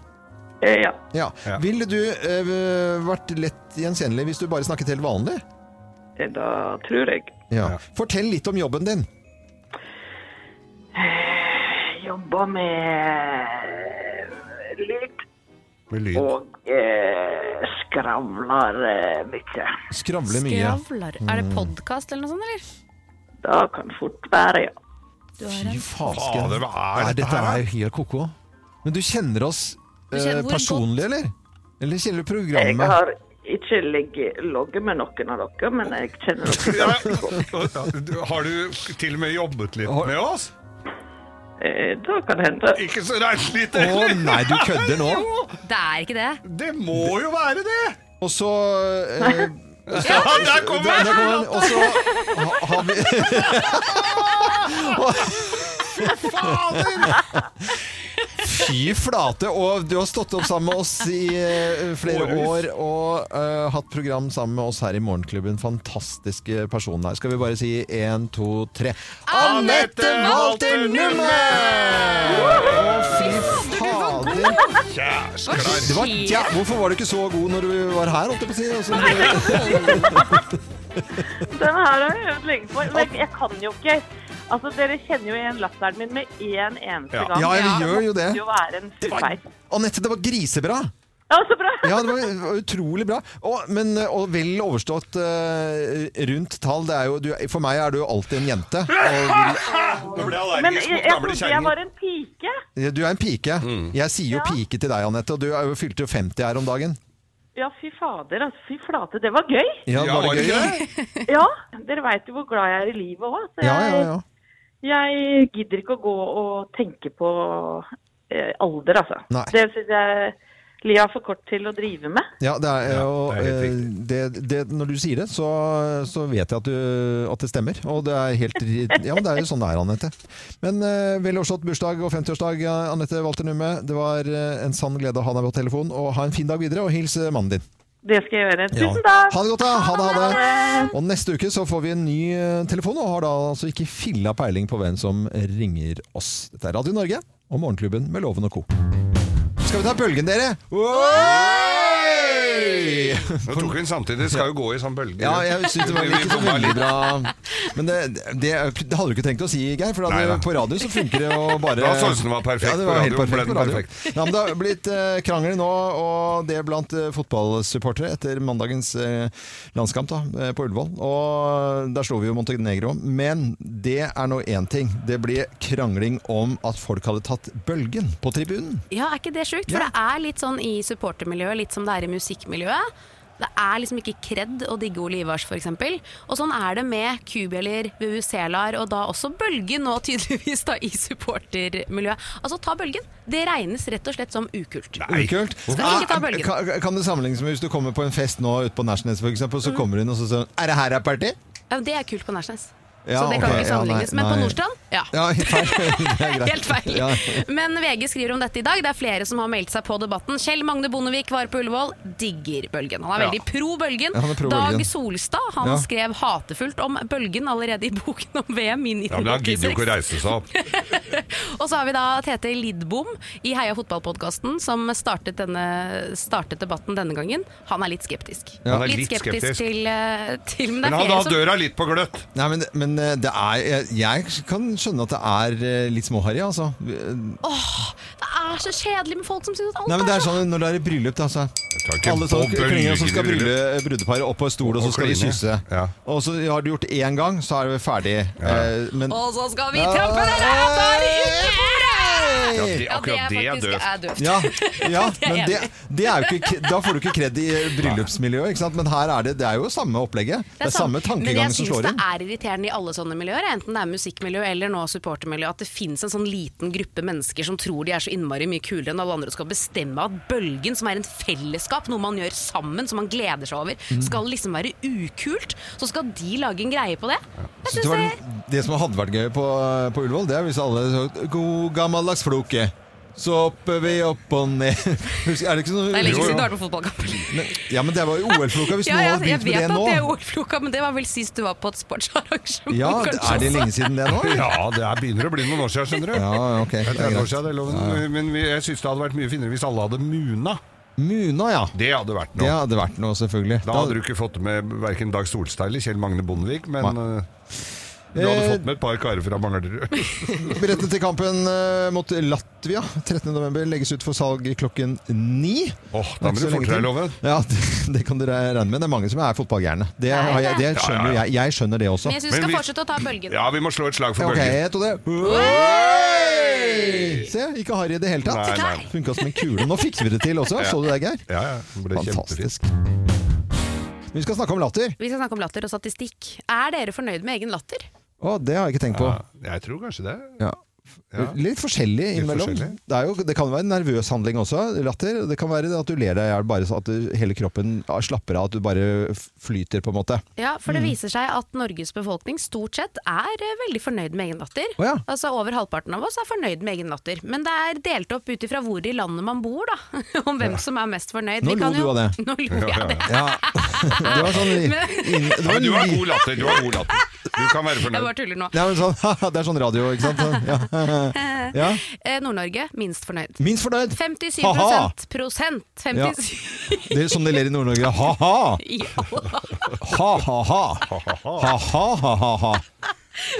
Speaker 5: Eh, Ja.
Speaker 1: Ja.
Speaker 2: Ja.
Speaker 1: Ville du eh, vært lett gjenkjennelig hvis du bare snakket helt vanlig?
Speaker 5: Eh, Da tror jeg
Speaker 1: Ja.
Speaker 2: Ja.
Speaker 1: Fortell litt om jobben din.
Speaker 5: jeg jobber med eh, lyd
Speaker 2: Med lyd.
Speaker 5: og eh, skravler eh, mye.
Speaker 1: Skravle mye.
Speaker 3: Skravler. Er det podkast eller noe sånt, eller?
Speaker 5: Da kan fort være, ja.
Speaker 3: Du har
Speaker 1: Fy
Speaker 3: en
Speaker 1: fasken.
Speaker 2: Fader, hva er
Speaker 1: Nei,
Speaker 2: dette
Speaker 1: dette
Speaker 2: her,
Speaker 1: er jo helt koko. Men du kjenner oss
Speaker 3: Du kjenner
Speaker 1: eh,
Speaker 3: hvor
Speaker 1: personlig, eller? Eller kjenner du
Speaker 5: Jeg
Speaker 1: programmet?
Speaker 5: har ikke ligget- ligget med noen av dere, men jeg kjenner dere.
Speaker 2: Ja, du- har du til og med jobbet litt med oss?
Speaker 5: Eh, Da kan det hende.
Speaker 2: Ikke så reist litt,
Speaker 1: Å nei, du kødder nå!
Speaker 2: Jo,
Speaker 3: Det er ikke det.
Speaker 2: det må jo være det!
Speaker 1: Og så eh,
Speaker 2: Ja, der
Speaker 1: Der,
Speaker 2: kommer
Speaker 1: der
Speaker 2: det!
Speaker 1: kom den. Og så ha- har vi
Speaker 2: Fader!
Speaker 1: Fy flate! Og du har stått opp sammen med oss i eh, flere år
Speaker 2: Årevis.
Speaker 1: og eh, hatt program sammen med oss her i Morgenklubben. Fantastiske personer her. Skal vi bare si én, to, tre
Speaker 2: Anette Walter Numme!
Speaker 1: Å, fy fader!
Speaker 2: Kjæreste
Speaker 1: Det var, ja, hvorfor var du ikke så god når du var her, holdt jeg på å si? Altså,
Speaker 6: Den her har jeg øvd lenge på. Men jeg kan jo ikke Altså, Dere kjenner jo igjen latteren min med én eneste
Speaker 2: Ja.
Speaker 6: gang.
Speaker 1: Ja, vi gjør jo det.
Speaker 6: måtte jo være en
Speaker 1: det var,
Speaker 6: feil.
Speaker 1: Anette, det var grisebra!
Speaker 6: Ja, så bra!
Speaker 1: Ja, det var utrolig bra. Og, men, eh, og vel overstått eh, rundt tall. Det er jo, du, for meg er du alltid en jente. Og
Speaker 2: Nå ble jeg
Speaker 6: Men
Speaker 2: allergisk
Speaker 6: jeg,
Speaker 2: mot
Speaker 6: jeg
Speaker 2: gamle
Speaker 6: trodde jeg
Speaker 2: kjerringer.
Speaker 6: var en pike.
Speaker 1: du er en pike. Jeg sier jo pike til deg, Anette, og du er jo fylte jo 50 her om dagen.
Speaker 6: Ja, fy fader. Altså, fy flate. Det var gøy.
Speaker 1: Ja,
Speaker 2: Ja,
Speaker 1: var det gøy?
Speaker 2: ikke
Speaker 6: Ja, Dere veit jo hvor glad jeg er i livet òg. Så
Speaker 1: Ja,
Speaker 6: jeg,
Speaker 1: ja, ja.
Speaker 6: jeg gidder ikke å gå og tenke på eh, alder, altså.
Speaker 1: Nei.
Speaker 6: Det syns jeg Lia er for kort til å drive med.
Speaker 1: ja det er,
Speaker 2: Ja,
Speaker 1: og,
Speaker 2: det er helt
Speaker 1: eh, det, det, når du sier det, så, så vet jeg at, du, at det stemmer. Og det er helt ri- Ja, men det er jo sånn det er, Anette. Men eh, vel overstått bursdag og 50-årsdag, Anette Walter Numme. Det var eh, en sann glede å ha deg på telefon. Og ha en fin dag videre, og hils eh, mannen din.
Speaker 6: Det skal jeg gjøre.
Speaker 1: Ja.
Speaker 6: Tusen takk!
Speaker 1: Ha det godt, da. Ha det, ha det. Og neste uke så får vi en ny eh, telefon, og har da altså ikke filla peiling på hvem som ringer oss. Dette er Radio Norge og Morgenklubben med Loven og Co. Skal vi ta bølgen, dere? Oi!
Speaker 2: Nå tok vi den samtidig. Det skal jo gå i sånn bølge.
Speaker 1: Ja, jeg synes det var
Speaker 2: Vi
Speaker 1: ikke så
Speaker 2: bomma
Speaker 1: veldig
Speaker 2: litt.
Speaker 1: bra. Men det, det, det hadde du ikke tenkt å si, Geir, for da
Speaker 2: Nei,
Speaker 1: hadde,
Speaker 2: nei.
Speaker 1: på radio så funker det jo bare
Speaker 2: Da så det ut som det var perfekt
Speaker 1: Ja, det
Speaker 2: på
Speaker 1: var helt
Speaker 2: radio,
Speaker 1: perfekt
Speaker 2: ble
Speaker 1: på
Speaker 2: den
Speaker 1: radio. Ja, men det har blitt eh, krangel nå, og det blant eh, fotballsupportere etter mandagens eh, landskamp da, eh, på Ullevål. Og der slo vi jo Montenegro. Men det er nå én ting. Det blir krangling om at folk hadde tatt bølgen på tribunen.
Speaker 3: Ja, er ikke det sjukt? For
Speaker 1: Ja.
Speaker 3: det er litt sånn i supportermiljøet, litt som det er i musikkmiljøet. Det er liksom ikke kred å digge Ole Ivars, f.eks. Og sånn er det med kubjeller, VUC-lar og da også Bølgen nå, tydeligvis, da i supportermiljøet. Altså, ta Bølgen. Det regnes rett og slett som ukult.
Speaker 2: Nei.
Speaker 1: Kult.
Speaker 3: Skal ikke ta bølgen.
Speaker 1: Kan, Ah, kan det sammenlignes med hvis du kommer på en fest nå ute på Nashnes for eksempel,
Speaker 3: Mm.
Speaker 1: så kommer hun og så sier hun, Er det her er party?
Speaker 3: Ja, det er kult på Nærsnes.
Speaker 1: Ja,
Speaker 3: så det kan
Speaker 1: ok,
Speaker 3: ikke
Speaker 1: ja,
Speaker 3: sammenlignes.
Speaker 1: nei,
Speaker 3: Men på
Speaker 1: nei.
Speaker 3: Nordstrand, ja.
Speaker 1: Ja, helt feil. Det er greit.
Speaker 3: Helt feil.
Speaker 1: Ja.
Speaker 3: Men VG skriver om dette i dag. Det er flere som har meldt seg på debatten. Kjell Magne Bondevik var på Ullevål. Digger bølgen. Han
Speaker 2: Ja.
Speaker 3: er veldig pro bølgen.
Speaker 1: Ja, han er pro
Speaker 3: Dag
Speaker 1: bølgen.
Speaker 3: Solstad
Speaker 1: Ja.
Speaker 3: han skrev hatefullt om bølgen allerede i boken om VM i
Speaker 2: Ja, men Han gidder jo ikke å
Speaker 3: 1986.
Speaker 2: reise seg opp.
Speaker 3: Og så har vi da Tete Lidbom i Heia fotballpodkasten som startet, denne, startet debatten denne gangen. Han er litt skeptisk.
Speaker 2: Han er litt
Speaker 3: skeptisk,
Speaker 2: skeptisk.
Speaker 3: Til, eh, til Men det
Speaker 2: Men
Speaker 3: er
Speaker 2: han
Speaker 3: flere
Speaker 2: har
Speaker 3: som
Speaker 2: døra litt på gløtt.
Speaker 1: Nei, men, men eh, det er, jeg, jeg kan skjønne at det er eh, litt småharry, altså. Nei,
Speaker 3: Det er så kjedelig med folk som syns at alt
Speaker 1: men det
Speaker 3: er
Speaker 1: er
Speaker 3: så
Speaker 1: sånn når det er i bryllup, da, så er
Speaker 2: Jeg tar ikke
Speaker 1: alle sånn
Speaker 2: på
Speaker 1: klinger som
Speaker 2: bølgen i
Speaker 1: skal
Speaker 2: bryllup.
Speaker 1: brylle brudeparet opp på en stol, og så
Speaker 2: Og
Speaker 1: skal de
Speaker 2: kline.
Speaker 1: kysse.
Speaker 2: Ja.
Speaker 1: Og så har du gjort det én gang, så er det ferdig. Eh, Men
Speaker 3: Og så skal vi trampe dere her i bordet! Ja,
Speaker 1: Hey!
Speaker 2: det- Akkurat det er døvt.
Speaker 3: er døvt.
Speaker 1: Ja, ja
Speaker 3: er
Speaker 1: men
Speaker 3: jeg
Speaker 1: det, det er jo ikke, da får du ikke kred i eh, bryllupsmiljøet, ikke sant? men her er det, det er jo samme opplegget. Det er samme
Speaker 3: Men
Speaker 1: tankegang
Speaker 3: jeg
Speaker 1: som
Speaker 3: syns
Speaker 1: slår
Speaker 3: det
Speaker 1: inn.
Speaker 3: er irriterende i alle sånne miljøer, enten det er musikkmiljø eller nå supportermiljø, at det fins en sånn liten gruppe mennesker som tror de er så innmari mye kulere enn alle andre, og skal bestemme at bølgen, som er en fellesskap, noe man gjør sammen, som man gleder seg over,
Speaker 1: Mm.
Speaker 3: skal liksom være ukult. Så skal de lage en greie på det. Jeg
Speaker 1: Så det,
Speaker 3: syns
Speaker 1: var
Speaker 3: det
Speaker 1: den, det som hadde vært gøy på, eh, på Ullevål, det er hvis alle så, God gammeldags floke. Så hopper vi opp og ned Husker- Er det ikke sånn
Speaker 3: Det er lenge
Speaker 1: Jo, jo.
Speaker 3: siden du har vært på fotballkamp.
Speaker 1: Men, ja, men det var jo OL-floka hvis
Speaker 3: Ja,
Speaker 1: noen
Speaker 3: ja,
Speaker 1: hadde
Speaker 3: jeg
Speaker 1: begynt
Speaker 3: vet at
Speaker 1: med
Speaker 3: det
Speaker 1: det
Speaker 3: er
Speaker 1: nå.
Speaker 3: ordfloka, men det var vel sist du var på et sportsarrangement,
Speaker 1: Ja,
Speaker 3: kanskje
Speaker 1: Er det
Speaker 3: også.
Speaker 1: lenge siden det nå? eller?
Speaker 2: Ja, det er begynner å bli noen år siden, skjønner du.
Speaker 1: Ja, ok.
Speaker 2: Det er
Speaker 1: Det er
Speaker 2: 30 år
Speaker 1: greit.
Speaker 2: siden, det er loven. Men vi- jeg syns det hadde vært mye finere hvis alle hadde muna.
Speaker 1: Muna, ja.
Speaker 2: Det hadde vært
Speaker 1: Det
Speaker 2: noe.
Speaker 1: hadde vært noe, selvfølgelig.
Speaker 2: Da hadde du ikke fått med verken Dag Solstad eller Kjell Magne Bondevik, men
Speaker 1: Nei.
Speaker 2: eh, du hadde
Speaker 1: Eh,
Speaker 2: fått med et par karer fra Manglerud.
Speaker 1: Billetten til kampen eh, mot Latvia 13.11. legges ut for salg klokken ni.
Speaker 2: Åh,
Speaker 1: Det er ikke
Speaker 2: da må du
Speaker 1: så lenge
Speaker 2: fortere,
Speaker 1: til.
Speaker 2: Loven.
Speaker 1: Ja, det, det kan dere regne med. Det er mange som er fotballgærne. Det,
Speaker 3: er
Speaker 1: har jeg, det
Speaker 2: det.
Speaker 1: skjønner jo
Speaker 2: Ja, ja, ja.
Speaker 1: jeg. Jeg skjønner det også.
Speaker 3: Men jeg syns
Speaker 2: Men
Speaker 3: vi skal
Speaker 2: vi-
Speaker 3: fortsette å ta bølgen.
Speaker 2: Ja, vi må slå et slag for
Speaker 1: Ok,
Speaker 2: bølgen.
Speaker 1: ett og det. Se, ikke harry i det hele
Speaker 2: Nei, nei.
Speaker 1: tatt. Funka som en kule. Nå fikk vi det til også. Så du det, Geir?
Speaker 2: Ja, ja. Det ble kjempefint.
Speaker 1: Fantastisk. Vi skal snakke om latter.
Speaker 3: Vi skal snakke om latter og statistikk. Er dere fornøyd med egen latter?
Speaker 1: Å, det har jeg ikke tenkt på.
Speaker 2: Ja, jeg tror kanskje det.
Speaker 1: Ja.
Speaker 2: Ja.
Speaker 1: Litt forskjellig innimellom.
Speaker 2: forskjellig.
Speaker 1: Det, er jo, det kan være en nervøs handling også, latter. Det kan være at du ler deg i hjel, bare så at du, hele kroppen slapper av, at du bare f- flyter, på en måte.
Speaker 3: Ja, for det
Speaker 1: Mm.
Speaker 3: viser seg at Norges befolkning stort sett er eh, veldig fornøyd med egen latter.
Speaker 1: Å ja.
Speaker 3: Altså Over halvparten av oss er fornøyd med egen latter. Men det er delt opp ut ifra hvor i landet man bor, da. Om hvem som er mest fornøyd.
Speaker 1: Nå
Speaker 3: Vi kan
Speaker 1: lo du
Speaker 3: jo-
Speaker 1: av det.
Speaker 3: Nå lo jeg av det.
Speaker 1: Ja. Det var sånn inn, det
Speaker 2: Ja,
Speaker 1: var
Speaker 2: men du har
Speaker 1: li-
Speaker 2: god latter. Du har god latter. Du kan være
Speaker 3: Jeg
Speaker 2: fornøyd.
Speaker 3: bare tuller nå.
Speaker 1: Ja, men sånn, det er sånn radio, ikke sant? Ja. Ja.
Speaker 3: Eh, Nord-Norge minst fornøyd.
Speaker 1: Minst fornøyd!
Speaker 3: 57
Speaker 1: Ha-ha!
Speaker 3: prosent! 57
Speaker 1: Det er sånn de ler i Nord-Norge. Ha-ha!
Speaker 3: i alle
Speaker 1: Ha-ha-ha! Ha-ha-ha-ha!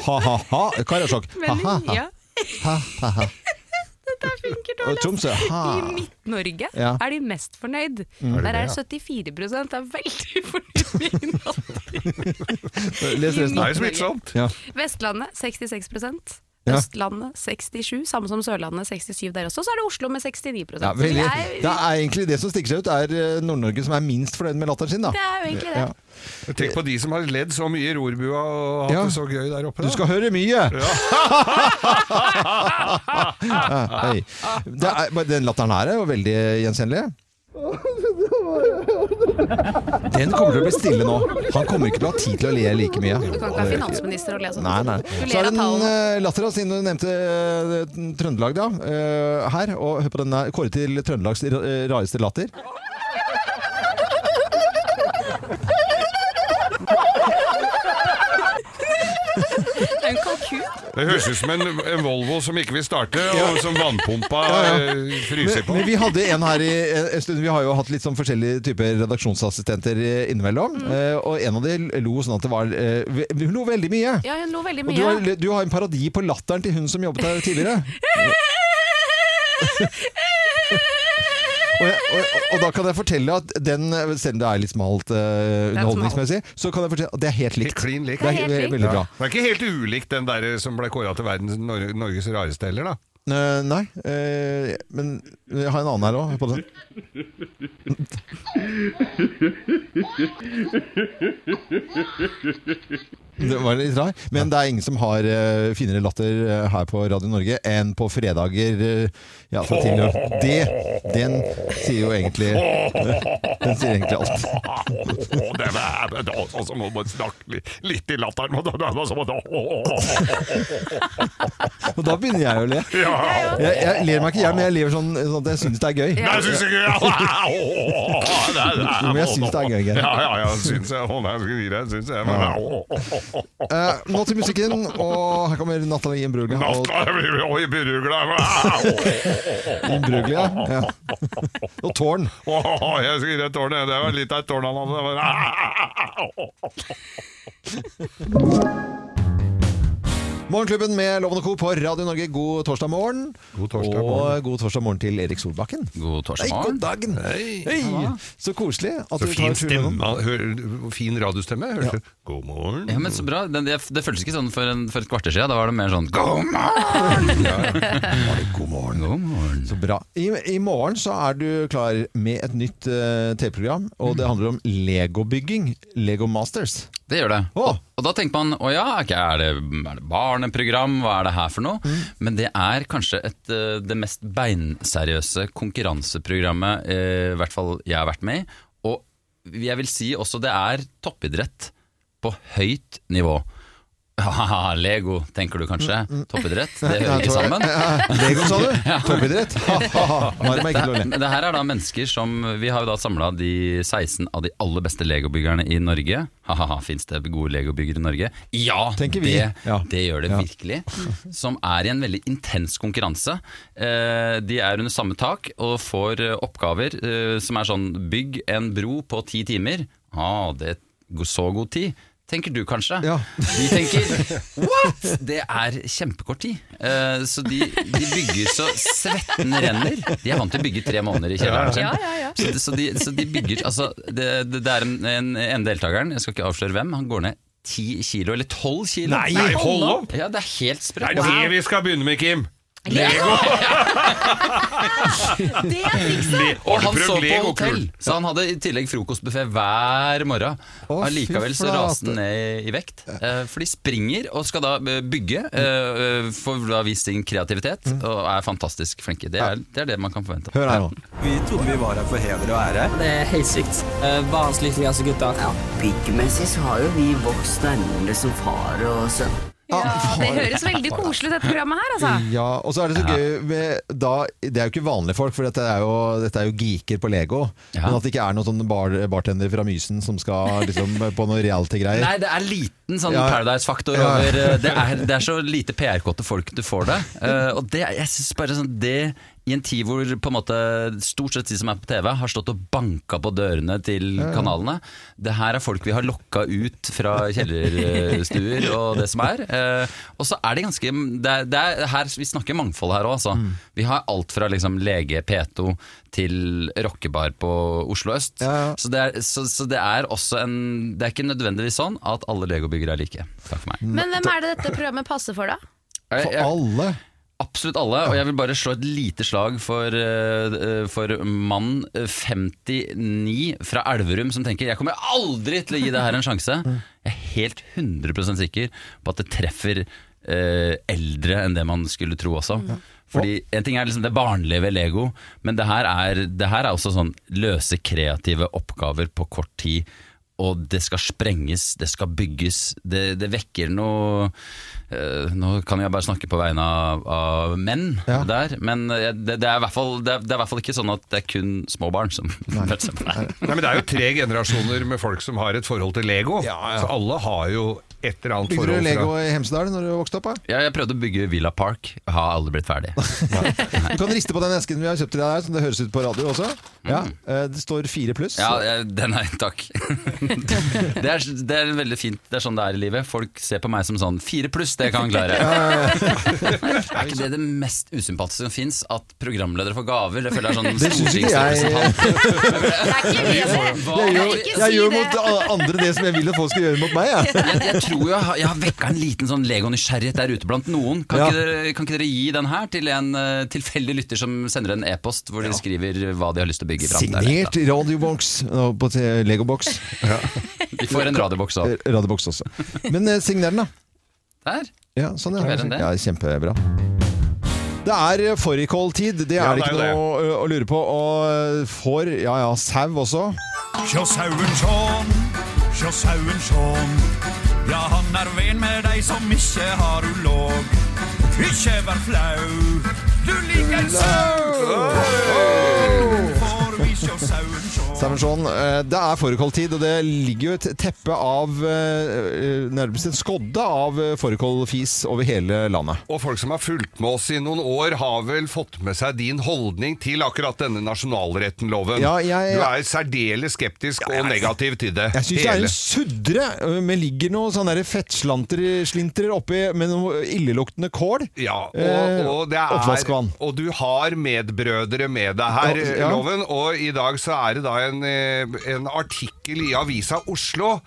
Speaker 1: Ha-ha-ha! Karasjok. Ha-ha.
Speaker 3: Men ja,
Speaker 1: Ha-ha.
Speaker 3: det funker
Speaker 1: Og
Speaker 3: dårlig.
Speaker 1: Tromsø. Ha.
Speaker 3: I Midt-Norge
Speaker 1: Ah. Ja.
Speaker 3: er de mest fornøyd.
Speaker 2: det
Speaker 3: Der
Speaker 2: det,
Speaker 3: er
Speaker 2: ja?
Speaker 3: 74 er veldig fornøyd med egen latter.
Speaker 1: Les resten.
Speaker 2: Det er jo smittsomt.
Speaker 1: Ja.
Speaker 3: Vestlandet 66
Speaker 1: Ja.
Speaker 3: Østlandet 67, samme som Sørlandet 67 der også. Så er det Oslo med 69
Speaker 1: Ja,
Speaker 3: Så vi
Speaker 1: veldig,
Speaker 3: er-
Speaker 1: det er egentlig det som stikker seg ut, er eh, Nord-Norge som er minst fornøyd med latteren sin. Da.
Speaker 3: det er jo egentlig det.
Speaker 1: Ja.
Speaker 2: Tenk på de som har ledd så mye i rorbua og hatt
Speaker 1: Ja.
Speaker 2: det så gøy der oppe.
Speaker 1: Du
Speaker 2: da.
Speaker 1: skal høre mye! Hei. Det er, men den latteren her er jo veldig gjenkjennelig. Den kommer til å bli stille nå. Han kommer ikke til å ha tid til å le like mye.
Speaker 3: Du kan ikke ha finansminister og le sånn.
Speaker 1: Nei, nei.
Speaker 3: Du
Speaker 1: Så er det
Speaker 3: ler av
Speaker 1: den
Speaker 3: tallene.
Speaker 1: eh, latteren, siden du nevnte eh, Trøndelag da, eh, her. Og hør på den her. Kåre til Trøndelags ra- eh, rareste latter.
Speaker 3: Det er jo en kalkun.
Speaker 2: Det høres ut som en, en Volvo som ikke vil starte, og som vannpumpa eh, fryser
Speaker 1: Men,
Speaker 2: på.
Speaker 1: men vi hadde en her i eh, en stund. Vi har jo hatt litt sånn forskjellige typer redaksjonsassistenter eh, innimellom.
Speaker 3: Mm.
Speaker 1: Eh, og en av de lo sånn at det var eh, ve- Hun lo veldig mye.
Speaker 3: Ja, hun lo veldig
Speaker 1: Og du har,
Speaker 3: mye.
Speaker 1: du har en parodi på latteren til hun som jobbet her tidligere. Og, jeg, og, og da kan jeg fortelle at den, selv om det er litt smalt eh, underholdningsmessig, så kan jeg fortelle at det er helt
Speaker 2: Helt
Speaker 1: likt.
Speaker 2: klin likt.
Speaker 1: Det
Speaker 3: helt
Speaker 1: er ve
Speaker 3: likt.
Speaker 1: veldig bra.
Speaker 2: Det er ikke helt ulikt den der eh, som ble kåra til verdens Nor Norges rareste heller, da.
Speaker 1: Eh, nei, eh, men jeg har en annen her òg. Det var litt rar, men det er ingen som har eh, finere latter eh, her på Radio Norge enn på fredager. eh, ja, fra tidligere. Det, den sier jo egentlig Den sier egentlig alt.
Speaker 2: Å, det er men da- og så må man snakke li- litt i latteren. og da- da- da- så må
Speaker 1: Og da begynner jeg å le.
Speaker 2: det- Ja.
Speaker 1: Jeg, jeg ler meg ikke i hjel, men jeg lever sånn, sånn at jeg syns det er gøy.
Speaker 2: Nei, jeg syns ikke
Speaker 1: Jo, men jeg synes det er gøy, Geir.
Speaker 2: Ja, ja, ja, syns jeg. Å, nei, jeg skal gi deg, syns jeg. Men,
Speaker 1: Eh, nå til musikken, og her kommer Natalie Imbruglia. og-
Speaker 2: Natta, jeg blir- oi, burugla.
Speaker 1: Imbruglia. Ja. Og tårn.
Speaker 2: Åh, jeg skal gi deg et tårn, jeg. det var litt av et tårn han hadde. Det var-
Speaker 1: Morgenklubben med Loven og Co. på Radio Norge, god torsdag morgen.
Speaker 2: God torsdag
Speaker 1: og
Speaker 2: morgen.
Speaker 1: god torsdag morgen til Erik Solbakken.
Speaker 7: God
Speaker 1: Hei,
Speaker 7: torsdag
Speaker 1: god
Speaker 7: morgen.
Speaker 1: dagen! Hei. Så koselig at
Speaker 2: Så
Speaker 1: du
Speaker 2: fin
Speaker 1: tar turen
Speaker 2: stemme.
Speaker 1: innom.
Speaker 2: Hør, fin radiostemme. Hørte du? God morgen.
Speaker 7: Ja, men så bra. Den, det, det føltes ikke sånn for, en, for et kvarter siden. Da var det mer sånn God morgen!
Speaker 2: God morgen.
Speaker 7: God morgen.
Speaker 1: Så bra. I, I morgen så er du klar med et nytt eh, TV-program, og
Speaker 2: Mm.
Speaker 1: det handler om legobygging. Lego Masters.
Speaker 7: Det gjør det.
Speaker 1: Å.
Speaker 7: Og, og da tenker man å ja, ok, er, det, er det barneprogram, hva er det her for noe? Men det er kanskje et, eh, det mest beinseriøse konkurranseprogrammet eh, i hvert fall jeg har vært med i. Og jeg vil si også det er toppidrett på høyt nivå. Haha, Lego, tenker du kanskje. Toppidrett, det
Speaker 1: Nei,
Speaker 7: hører
Speaker 1: jeg
Speaker 7: ikke
Speaker 1: tror-
Speaker 7: sammen.
Speaker 1: Lego, sa du? Toppidrett? Ha-ha-ha. Nå er det meg ikke til å le.
Speaker 7: Men det her er da mennesker som Vi har jo da samla de 16 av de aller beste legobyggerne i Norge. Ha-ha-ha, fins det gode legobyggere i Norge? Ja!
Speaker 1: Tenker vi.
Speaker 7: Det,
Speaker 1: Ja.
Speaker 7: det gjør det
Speaker 1: Ja.
Speaker 7: virkelig. Som er i en veldig intens konkurranse. Eh, De er under samme tak og får eh, oppgaver eh, som er sånn Bygg en bro på ti timer. Ah, det er go- så god tid. Tenker du kanskje?
Speaker 1: Ja.
Speaker 7: De tenker What?! Det er kjempekort tid. Eh, så de, de bygger så svetten renner. De er vant til å bygge i tre måneder i kjelleren sin.
Speaker 3: Ja, ja, ja.
Speaker 7: Så, så, de, så de bygger altså, det, det, det er en, en, en deltakeren, jeg skal ikke avsløre hvem, han går ned ti kilo, eller tolv kilo.
Speaker 2: Nei, Nei, hold hold opp!
Speaker 7: Ja, det er helt
Speaker 2: Det
Speaker 7: sprøtt.
Speaker 2: er det vi skal begynne med, Kim.
Speaker 3: Det er trikset!
Speaker 2: Le
Speaker 7: Og han
Speaker 2: prøvd
Speaker 7: så på
Speaker 2: Lego
Speaker 7: hotell,
Speaker 2: Kul?
Speaker 7: så han hadde i tillegg frokostbuffé hver morgen.
Speaker 1: Å,
Speaker 7: Allikevel
Speaker 1: fy
Speaker 7: så raste
Speaker 1: flate.
Speaker 7: han ned i- i vekt. Eh, For de springer og skal da eh, bygge, eh, eh, får da vist sin kreativitet, og er fantastisk flinke. Det er det, er det man kan forvente.
Speaker 1: Mm. Hør her nå.
Speaker 8: Vi trodde vi var her for heder og ære.
Speaker 9: Det er helt sykt. Eh, Barens lykkeligste gutter.
Speaker 10: Ja, Byggmessig så har jo vi vokst nærmere som far og sønn.
Speaker 3: Ja, det høres veldig koselig ut, dette programmet her, altså.
Speaker 1: Ja, og så er det så gøy med, da, Det er jo ikke vanlige folk, for dette er jo, dette er jo geeker på Lego.
Speaker 7: Ja.
Speaker 1: Men at det ikke er noen sånn bar, bartender fra Mysen som skal liksom, på noen reality-greier.
Speaker 7: Nei, det er liten sånn
Speaker 1: Ja.
Speaker 7: Paradise-faktor
Speaker 1: Ja.
Speaker 7: over eh, det er, det er så lite PR-kåte folk du får det. Eh, og det, jeg synes bare sånn det i en tid hvor på en måte stort sett de som er på TV, har stått og banka på dørene til kanalene. Det her er folk vi har lokka ut fra kjellerstuer og det som er. Eh, og så er det ganske det er, det er her, Vi snakker mangfold her òg, altså.
Speaker 1: Mm.
Speaker 7: Vi har alt fra liksom lege P2 til rockebar på Oslo øst.
Speaker 1: Ja, ja.
Speaker 7: Så det, er, så, så det er også en Det er ikke nødvendigvis sånn at alle legobyggere er like. Takk for meg.
Speaker 1: Mm.
Speaker 3: Men hvem er det dette programmet passer for, da?
Speaker 7: Jeg,
Speaker 1: For
Speaker 7: jeg,
Speaker 1: alle.
Speaker 7: absolutt alle, og jeg vil bare slå et lite slag for, eh, for mann eh, 59 fra Elverum som tenker 'jeg kommer aldri til å gi det her en sjanse'. Jeg er helt 100 sikker på at det treffer eh, eldre enn det man skulle tro også. Fordi En ting er liksom det barnlige ved Lego, men det her er, det her er også sånn løse kreative oppgaver på kort tid. Og det skal sprenges, det skal bygges. Det, det vekker noe eh, Nå kan jeg bare snakke på vegne av, av menn
Speaker 1: Ja.
Speaker 7: der, men eh, det, det, er i hvert fall, det, er, det er i hvert fall ikke sånn at det er kun små barn som føler seg på det.
Speaker 2: Nei, men Det er jo tre generasjoner med folk som har et forhold til Lego. Så alle har jo et eller annet
Speaker 1: Bygde du
Speaker 2: forhold
Speaker 1: Lego i Hemsedal når du vokste opp? Da?
Speaker 7: Jeg, jeg prøvde å bygge Villa Park, har aldri blitt ferdig.
Speaker 1: Du kan riste på den esken vi har kjøpt til deg her, som det høres ut på radio også. Ja, eh, det står fire pluss.
Speaker 7: Ja, jeg- den er takk. Det er, det er veldig fint. Det er sånn det er i livet. Folk ser på meg som sånn fire pluss, det kan jeg klare. Er ikke det det mest usympatiske som fins? At programledere får gaver? Det føler jeg er
Speaker 1: Det
Speaker 7: sånn
Speaker 1: synes ikke jeg.
Speaker 7: stortingsrepresentant.
Speaker 3: Det er ikke vi, altså. det!
Speaker 7: Hva-
Speaker 1: Jeg gjør,
Speaker 3: Ikke si
Speaker 1: jeg gjør
Speaker 3: det.
Speaker 1: mot a- andre det som jeg vil at folk skal gjøre mot meg. Jeg.
Speaker 7: Jeg, jeg tror jeg har, jeg har vekka en liten sånn Lego-nysgjerrighet der ute blant noen. Kan,
Speaker 1: Ja.
Speaker 7: ikke dere, kan ikke dere gi den her til en eh, tilfeldig lytter som sender en e-post hvor de skriver hva de har lyst til å bygge fram? der?
Speaker 1: Signert radioboks nå, på te- Legoboks.
Speaker 7: Vi får en radioboks
Speaker 1: Eh,
Speaker 7: av.
Speaker 1: Radioboks også. Men eh, signer den, da.
Speaker 7: Der.
Speaker 1: Ja, sånn ja.
Speaker 7: Ikke mer enn det?
Speaker 1: ja, kjempebra. Det er fårikåltid, det
Speaker 2: Ja,
Speaker 1: er det
Speaker 2: det er
Speaker 1: ikke
Speaker 2: jo
Speaker 1: noe å, å lure på. Og eh, får, ja ja, sau også.
Speaker 8: Sjå sauen sjån, sjå sauen sjån. Ja, han er ven med dei som ikkje har ulåg. Ikkje vær flau, du liker sau. Får vi sjå sauen sjån.
Speaker 1: Samuelsson, eh, det er fårikåltid, og det ligger jo et teppe av eh, Nærmest en skodde av eh, fårikålfis over hele landet.
Speaker 2: Og folk som har fulgt med oss i noen år, har vel fått med seg din holdning til akkurat denne nasjonalretten-loven.
Speaker 1: Ja, jeg-
Speaker 2: Du er særdeles skeptisk og negativ til det.
Speaker 1: Jeg syns det er
Speaker 2: hele.
Speaker 1: en suddre. eh, Men ligger noe sånn der fettslanter slintrer oppi med noe illeluktende kål.
Speaker 2: Ja, og,
Speaker 1: Eh,
Speaker 2: og det er
Speaker 1: Oppvaskvann.
Speaker 2: Og du har medbrødre med deg her, eh,
Speaker 1: Ja, ja.
Speaker 2: Loven. Og i dag så er det da en, eh, en artikkel i Avisa Oslo.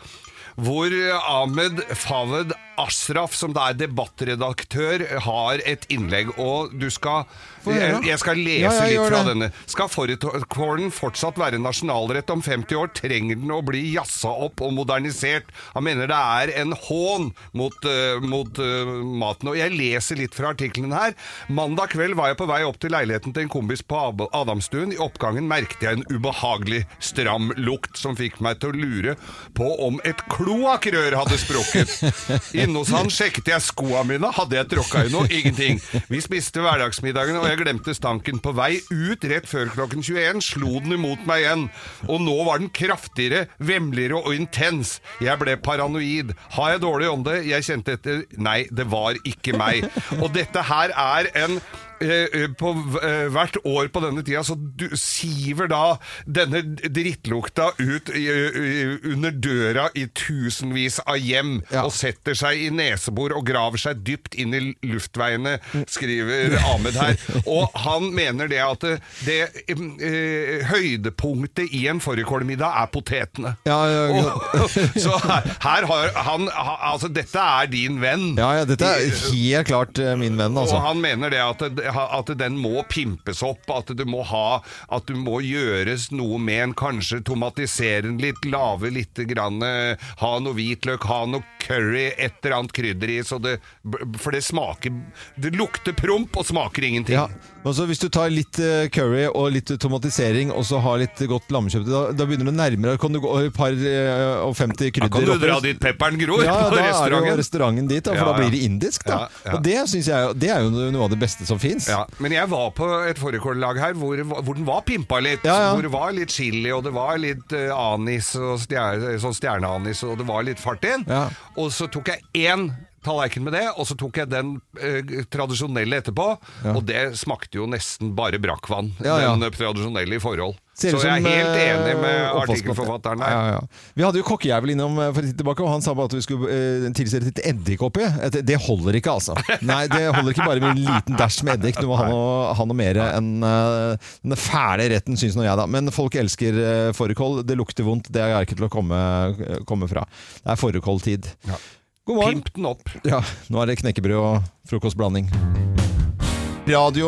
Speaker 2: Hvor eh, Ahmed Fawed Ashraf, som da er debattredaktør, har et innlegg. Og du skal
Speaker 1: Få
Speaker 2: Jeg,
Speaker 1: høre.
Speaker 2: jeg skal lese
Speaker 1: Ja, ja, gjør
Speaker 2: litt fra
Speaker 1: det.
Speaker 2: denne. Skal fårikålen fortsatt være nasjonalrett om 50 år, trenger den å bli jassa opp og modernisert. Han mener det er en hån mot, eh, mot eh, maten. Og jeg leser litt fra artikkelen her. Mandag kveld var jeg på vei opp til leiligheten til en kompis på Ab- Adamstuen. I oppgangen merket jeg en ubehagelig stram lukt som fikk meg til å lure på om et kloakkrør hadde sprukket. Inne hos han sjekket jeg skoa mine. Hadde jeg tråkka i noe? Ingenting. Vi spiste hverdagsmiddagen, og jeg glemte stanken. På vei ut rett før klokken 21 slo den imot meg igjen. Og nå var den kraftigere, vemmeligere og intens. Jeg ble paranoid. Har jeg dårlig ånde? Jeg kjente etter Nei, det var ikke meg. Og dette her er en eh, eh, på, v- eh, hvert år på denne tida så du, siver da denne drittlukta ut i, i- under døra i tusenvis av hjem og setter seg i nesebor og graver seg dypt inn i luftveiene, skriver
Speaker 1: Mm.
Speaker 2: Ahmed her. Og han mener det at det, det eh, høydepunktet i en fårikålmiddag er potetene.
Speaker 1: Ja, ja, ja.
Speaker 2: Og, så her, her har han ha- Altså, dette er din venn.
Speaker 1: Ja, ja, dette er helt klart eh, min venn, altså.
Speaker 2: Og han mener det at, at den må pimpes opp, at du må ha At du må gjøres noe med en, kanskje tomatisere den litt, lave litt, grann, eh, ha noe hvitløk, ha noe curry, et eller annet krydder i, så det For det smaker Det lukter promp og smaker ingenting.
Speaker 1: Ja. Og så hvis du tar litt eh, curry og litt tomatisering, og så har litt godt lammekjøtt da, da begynner du nærmere. Kan du gå et par eh, og 50 krydder
Speaker 2: Da kan du
Speaker 1: oppi.
Speaker 2: dra dit pepperen gror,
Speaker 1: Ja, da er
Speaker 2: på
Speaker 1: det jo
Speaker 2: restauranten.
Speaker 1: restauranten dit, da, for
Speaker 2: Ja,
Speaker 1: da
Speaker 2: ja.
Speaker 1: blir det indisk. da.
Speaker 2: Ja, ja.
Speaker 1: Og det synes jeg jo- det er jo noe av det beste som fins.
Speaker 2: Ja, men jeg var på et fårikållag her hvor, hvor den var pimpa litt.
Speaker 1: Ja, ja.
Speaker 2: Hvor det var litt chili, og det var litt eh, anis, og stjer, sånn stjerneanis, og det var litt fart inn.
Speaker 1: Ja.
Speaker 2: Og så tok jeg én tallerken med det, og så tok jeg den eh, tradisjonelle etterpå.
Speaker 1: Ja.
Speaker 2: Og det smakte jo nesten bare brakkvann,
Speaker 1: Ja, ja.
Speaker 2: den eh, tradisjonelle i forhold.
Speaker 1: Ser
Speaker 2: så
Speaker 1: ut
Speaker 2: jeg
Speaker 1: som,
Speaker 2: er helt
Speaker 1: eh,
Speaker 2: enig med
Speaker 1: oppvaskmatte.
Speaker 2: artikkelforfatteren
Speaker 1: Ja,
Speaker 2: her.
Speaker 1: ja, ja. Vi hadde jo kokkejævel innom eh, for en tid tilbake, og han sa bare at vi skulle eh, tilsette litt eddik oppi. Et- Det holder ikke, altså. Nei, det holder ikke bare med en liten dæsj med eddik. Du må ha noe, ha noe mer enn eh, den fæle retten, syns nå jeg, da. Men folk elsker eh, fårikål. Det lukter vondt, det er ikke til å komme, eh, komme fra. Det er fårikåltid. God morgen.
Speaker 2: Pimp den opp.
Speaker 1: Ja, nå er det knekkebrød og frokostblanding. Radio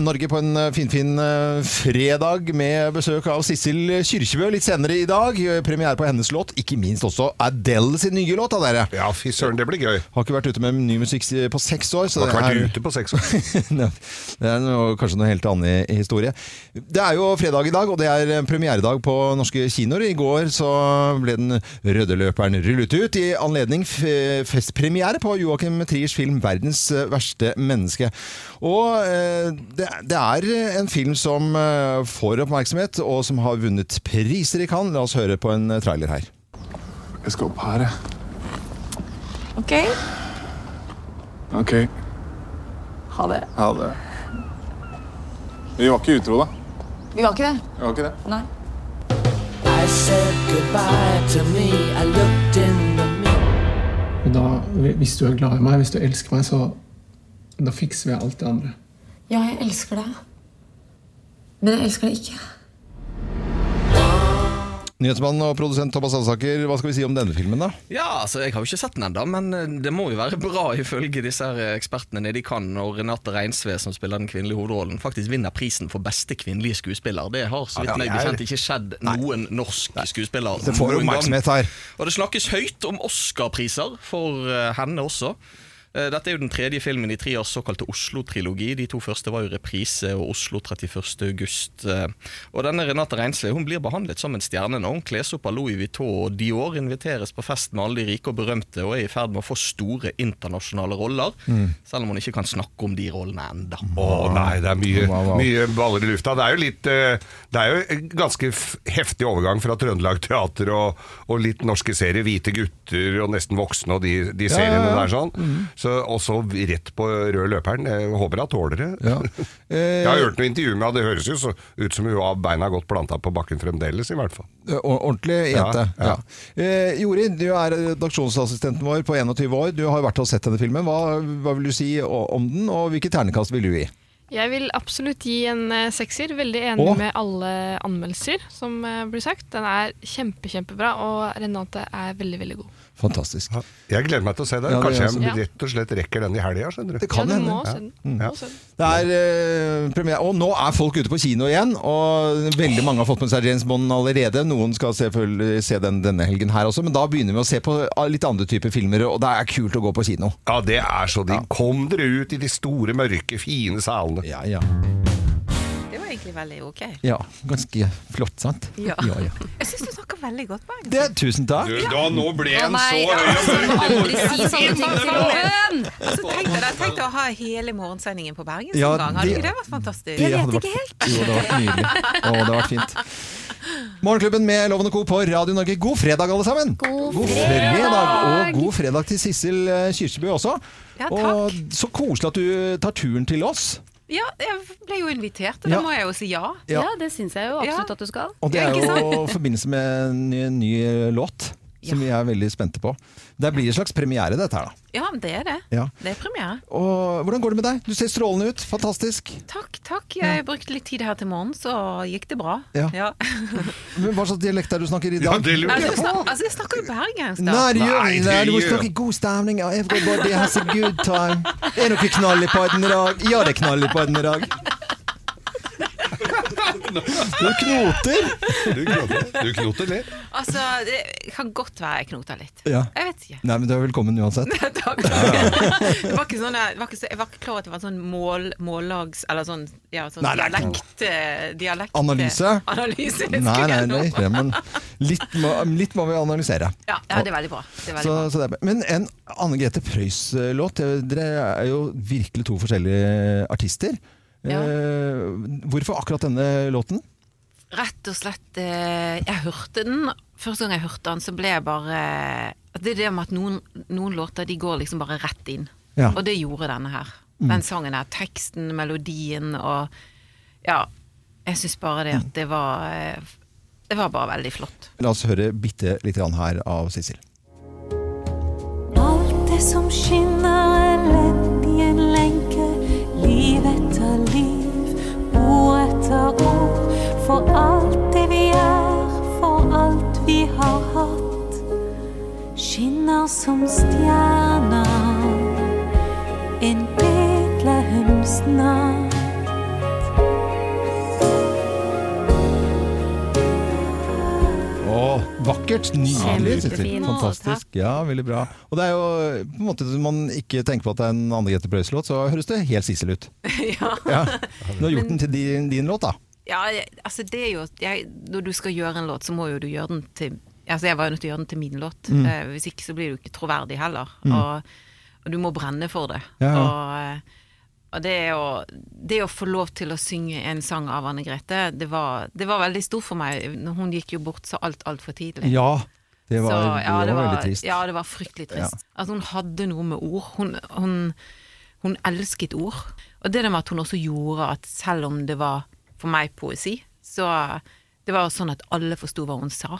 Speaker 1: Norge på en finfin fin, eh, fredag med besøk av Sissel Kyrkjebø litt senere i dag. Eh, Premiere på hennes låt, ikke minst også Adele sin nye låt. da, Dere.
Speaker 2: Ja, fy søren, det blir gøy.
Speaker 1: Har ikke vært ute med ny musikk si- på seks år. Så
Speaker 2: Har ikke vært
Speaker 1: er-
Speaker 2: ute på seks år.
Speaker 1: Nei, det er noe, kanskje noe helt annet i- historie. Det er jo fredag i dag, og det er premieredag på norske kinoer. I går så ble den røde løperen rullet ut i anledning f- festpremiere på Joakim Triers film 'Verdens eh, verste menneske'. Og eh, det, det er en film som eh, får oppmerksomhet, og som har vunnet priser i Cannes. La oss høre på en eh, trailer her.
Speaker 11: Jeg skal opp her, jeg.
Speaker 12: OK?
Speaker 11: Ok.
Speaker 12: Ha det.
Speaker 11: Ha det. Vi var ikke utro, da.
Speaker 12: Vi var ikke det.
Speaker 11: Vi var ikke det.
Speaker 12: Nei.
Speaker 10: I said goodbye to me. I looked in the mirror.
Speaker 13: Men da, hvis du er glad i meg, hvis du elsker meg, så Da fikser vi alt det andre.
Speaker 12: Ja, jeg elsker deg. Men jeg elsker deg ikke.
Speaker 1: Nyhetsmann og produsent Thomas Alsaker, hva skal vi si om denne filmen, da?
Speaker 14: Ja, altså Jeg har jo ikke sett den ennå, men eh, det må jo være bra ifølge disse her eh, ekspertene nede i Cannes når Renate Reinsve, som spiller den kvinnelige hovedrollen, faktisk vinner prisen for beste kvinnelige skuespiller. Det har så
Speaker 1: Ja,
Speaker 14: vidt meg
Speaker 1: det er-
Speaker 14: bekjent ikke skjedd noen norsk skuespiller.
Speaker 1: Det får
Speaker 14: noen gang.
Speaker 1: oppmerksomhet her.
Speaker 14: Og det snakkes høyt om Oscar-priser for eh, henne også. Eh, Dette er jo den tredje filmen i trias såkalte Oslo-trilogi. De to første var jo reprise og Oslo 31. august. Eh, Og denne Renate Reinsve hun blir behandlet som en stjerne når hun kles opp av Louis Vuitton og Dior, inviteres på fest med alle de rike og berømte og er i ferd med å få store internasjonale roller,
Speaker 2: Mm.
Speaker 14: selv om hun ikke kan snakke om de rollene enda.
Speaker 2: Å nei, det er mye, mye baller i lufta. Det er jo litt eh, Det er jo en ganske f- heftig overgang fra Trøndelag Teater og, og litt norske serier. Hvite gutter og Nesten voksne og de,
Speaker 1: Ja,
Speaker 2: de
Speaker 1: ja,
Speaker 2: seriene
Speaker 1: ja.
Speaker 2: der sånn.
Speaker 1: Mhm.
Speaker 2: Så også rett på rød løperen. Jeg håper hun tåler det.
Speaker 1: Eh,
Speaker 2: Jeg har hørt noe intervju med henne, det høres jo så ut som hun har beina godt planta på bakken fremdeles, i hvert fall.
Speaker 1: Eh, or- Ordentlig jente.
Speaker 2: Ja,
Speaker 1: Ja,
Speaker 2: ja.
Speaker 1: Eh, Jorid, du er redaksjonsassistenten vår på 21 år. Du har jo vært og sett denne filmen. Hva, hva vil du si o- om den, og hvilke ternekast vil du gi?
Speaker 15: Jeg vil absolutt gi en eh, sekser. Veldig enig
Speaker 1: Åh.
Speaker 15: med alle anmeldelser som eh, blir sagt. Den er kjempe, kjempebra, og Renate er veldig, veldig god.
Speaker 1: Fantastisk.
Speaker 2: Jeg gleder meg til å se den.
Speaker 1: Ja, det
Speaker 2: Kanskje
Speaker 1: gjør
Speaker 2: jeg
Speaker 15: jeg også.
Speaker 2: rett og slett rekker den i helga, skjønner du.
Speaker 1: Det kan Ja, du hende. må
Speaker 15: se den.
Speaker 2: Ja. Ja.
Speaker 1: Mm. Det er eh, premiere, og nå er folk ute på kino igjen. Og veldig mange har fått med seg James Bond allerede. Noen skal selvfølgelig se den denne helgen her også, men da begynner vi å se på ah, litt andre typer filmer, og det er kult å gå på kino.
Speaker 2: Ja, det er så digg. Kom dere ut i de store, mørke, fine salene.
Speaker 1: Ja, ja.
Speaker 16: Det var egentlig veldig ok.
Speaker 1: Ja, ganske flott, sant?
Speaker 16: Ja.
Speaker 1: ja, ja.
Speaker 16: Jeg syns du snakker veldig godt, Berg.
Speaker 1: Det, tusen takk.
Speaker 2: Du, da nå ble en så høy og
Speaker 16: altså, Aldri si sånne ting til noen!
Speaker 2: Innrøm!
Speaker 16: Altså, tenk deg det, tenk deg å ha hele morgensendingen på Bergen
Speaker 1: Ja,
Speaker 16: en gang. Hadde
Speaker 1: det-
Speaker 16: ikke det vært fantastisk?
Speaker 1: Det hadde vært- Jo, det hadde vært nydelig. Å, det hadde vært fint. Morgenklubben med Loven og Co. på Radio Norge. God fredag, alle sammen! God,
Speaker 16: fredag!
Speaker 1: Og god fredag til Sissel eh, Kyrkjebø også.
Speaker 16: Ja, takk.
Speaker 1: og så koselig at du tar turen til oss.
Speaker 16: Ja, jeg ble jo invitert, og
Speaker 1: Ja.
Speaker 16: da må jeg jo si ja.
Speaker 1: Ja. Ja,
Speaker 16: det syns jeg jo absolutt at du skal.
Speaker 1: Og det er
Speaker 16: ikke
Speaker 1: jo i
Speaker 16: sant?
Speaker 1: forbindelse med en ny, ny eh, låt, som vi er veldig spente på. Det blir en slags premiere, dette her, da.
Speaker 16: Ja, men det er det.
Speaker 1: Ja.
Speaker 16: Det er premiere.
Speaker 1: Og hvordan går det med deg? Du ser strålende ut. Fantastisk.
Speaker 16: Takk, takk. Jeg brukte litt tid her til morgen, så gikk det bra.
Speaker 1: Ja. Men Hva slags dialekt er det du snakker i dag?
Speaker 16: Nei, altså, jeg snak- altså, jeg snakker jo bergensk, da.
Speaker 1: Nei, det gjør vi ikke. Du må snakke i god stemning. og Everybody has a good time. Er dere knall i podden i dag? Ja, det er knall i podden i dag. Du knoter.
Speaker 2: Du knoter, du knoter litt.
Speaker 16: Altså, det kan godt være jeg knoter litt.
Speaker 1: Ja.
Speaker 16: Jeg vet ikke.
Speaker 1: Nei, men du er velkommen uansett.
Speaker 16: Det var ikke sånn, det var ikke så, jeg var ikke klar over at det var sånn mål, mållags... Eller sånn, ja, sånn
Speaker 1: Nei, det er ikke noe.
Speaker 16: dialekt, eh, dialekt...
Speaker 1: Analyse?
Speaker 16: Analyse, det
Speaker 1: Nei,
Speaker 16: skulle
Speaker 1: nei,
Speaker 16: jeg nå.
Speaker 1: nei, nei men litt må, litt må vi analysere.
Speaker 16: Ja, ja, det er veldig bra. Det er veldig
Speaker 1: Så, så det er, bra. men en Anne Grete Preus-låt Dere er jo virkelig to forskjellige artister.
Speaker 16: Ja.
Speaker 1: Eh, hvorfor akkurat denne låten?
Speaker 16: bra. Rett og slett, eh, jeg hørte den. Første gang jeg hørte den, så ble jeg bare... eh, Det er det med at noen, noen låter, de går liksom bare rett inn.
Speaker 1: Ja.
Speaker 16: Og det gjorde denne her.
Speaker 1: Mm.
Speaker 16: Den sangen her, teksten, melodien og... Ja, jeg synes bare det at det var... eh, Det var bare veldig flott.
Speaker 1: Mm. La oss høre bitte litt grann her av Sissel.
Speaker 4: Alt det som skinner er ledd i en lenke. Liv etter liv, ord etter ord. For alt det vi er, for alt vi har hatt, skinner som stjerner. En Betlehemsnatt.
Speaker 1: Å, vakkert! Nydelig! Sissel.
Speaker 4: Kjempefin.
Speaker 1: Fantastisk. Ja, veldig bra. Og det er jo på en måte man ikke tenker på at det er en Anne Grete Preus-låt, så høres det helt Sissel ut.
Speaker 16: ja.
Speaker 1: Ja. Du har gjort den til din, din låt, da.
Speaker 16: Ja, jeg- altså det er jo jeg, Når du skal gjøre en låt, så må jo du gjøre den til Altså jeg var jo nødt til å gjøre den til min låt.
Speaker 1: Mm.
Speaker 16: Eh, hvis ikke så blir du ikke troverdig heller.
Speaker 1: Mm.
Speaker 16: Og, og du må brenne for det.
Speaker 1: Ja, ja.
Speaker 16: Og, eh, og det, er jo, det å få lov til å synge en sang av Anne Grete, det var, det var veldig stort for meg. Hun gikk jo bort så alt, altfor tidlig.
Speaker 1: Ja, det var,
Speaker 16: Så, ja,
Speaker 1: det var veldig trist.
Speaker 16: Ja, det var fryktelig trist. At hun hadde noe med ord. Hun, hun, hun elsket ord. Og det der med at hun også gjorde at selv om det var for meg poesi, så det var sånn at alle forsto hva hun sa.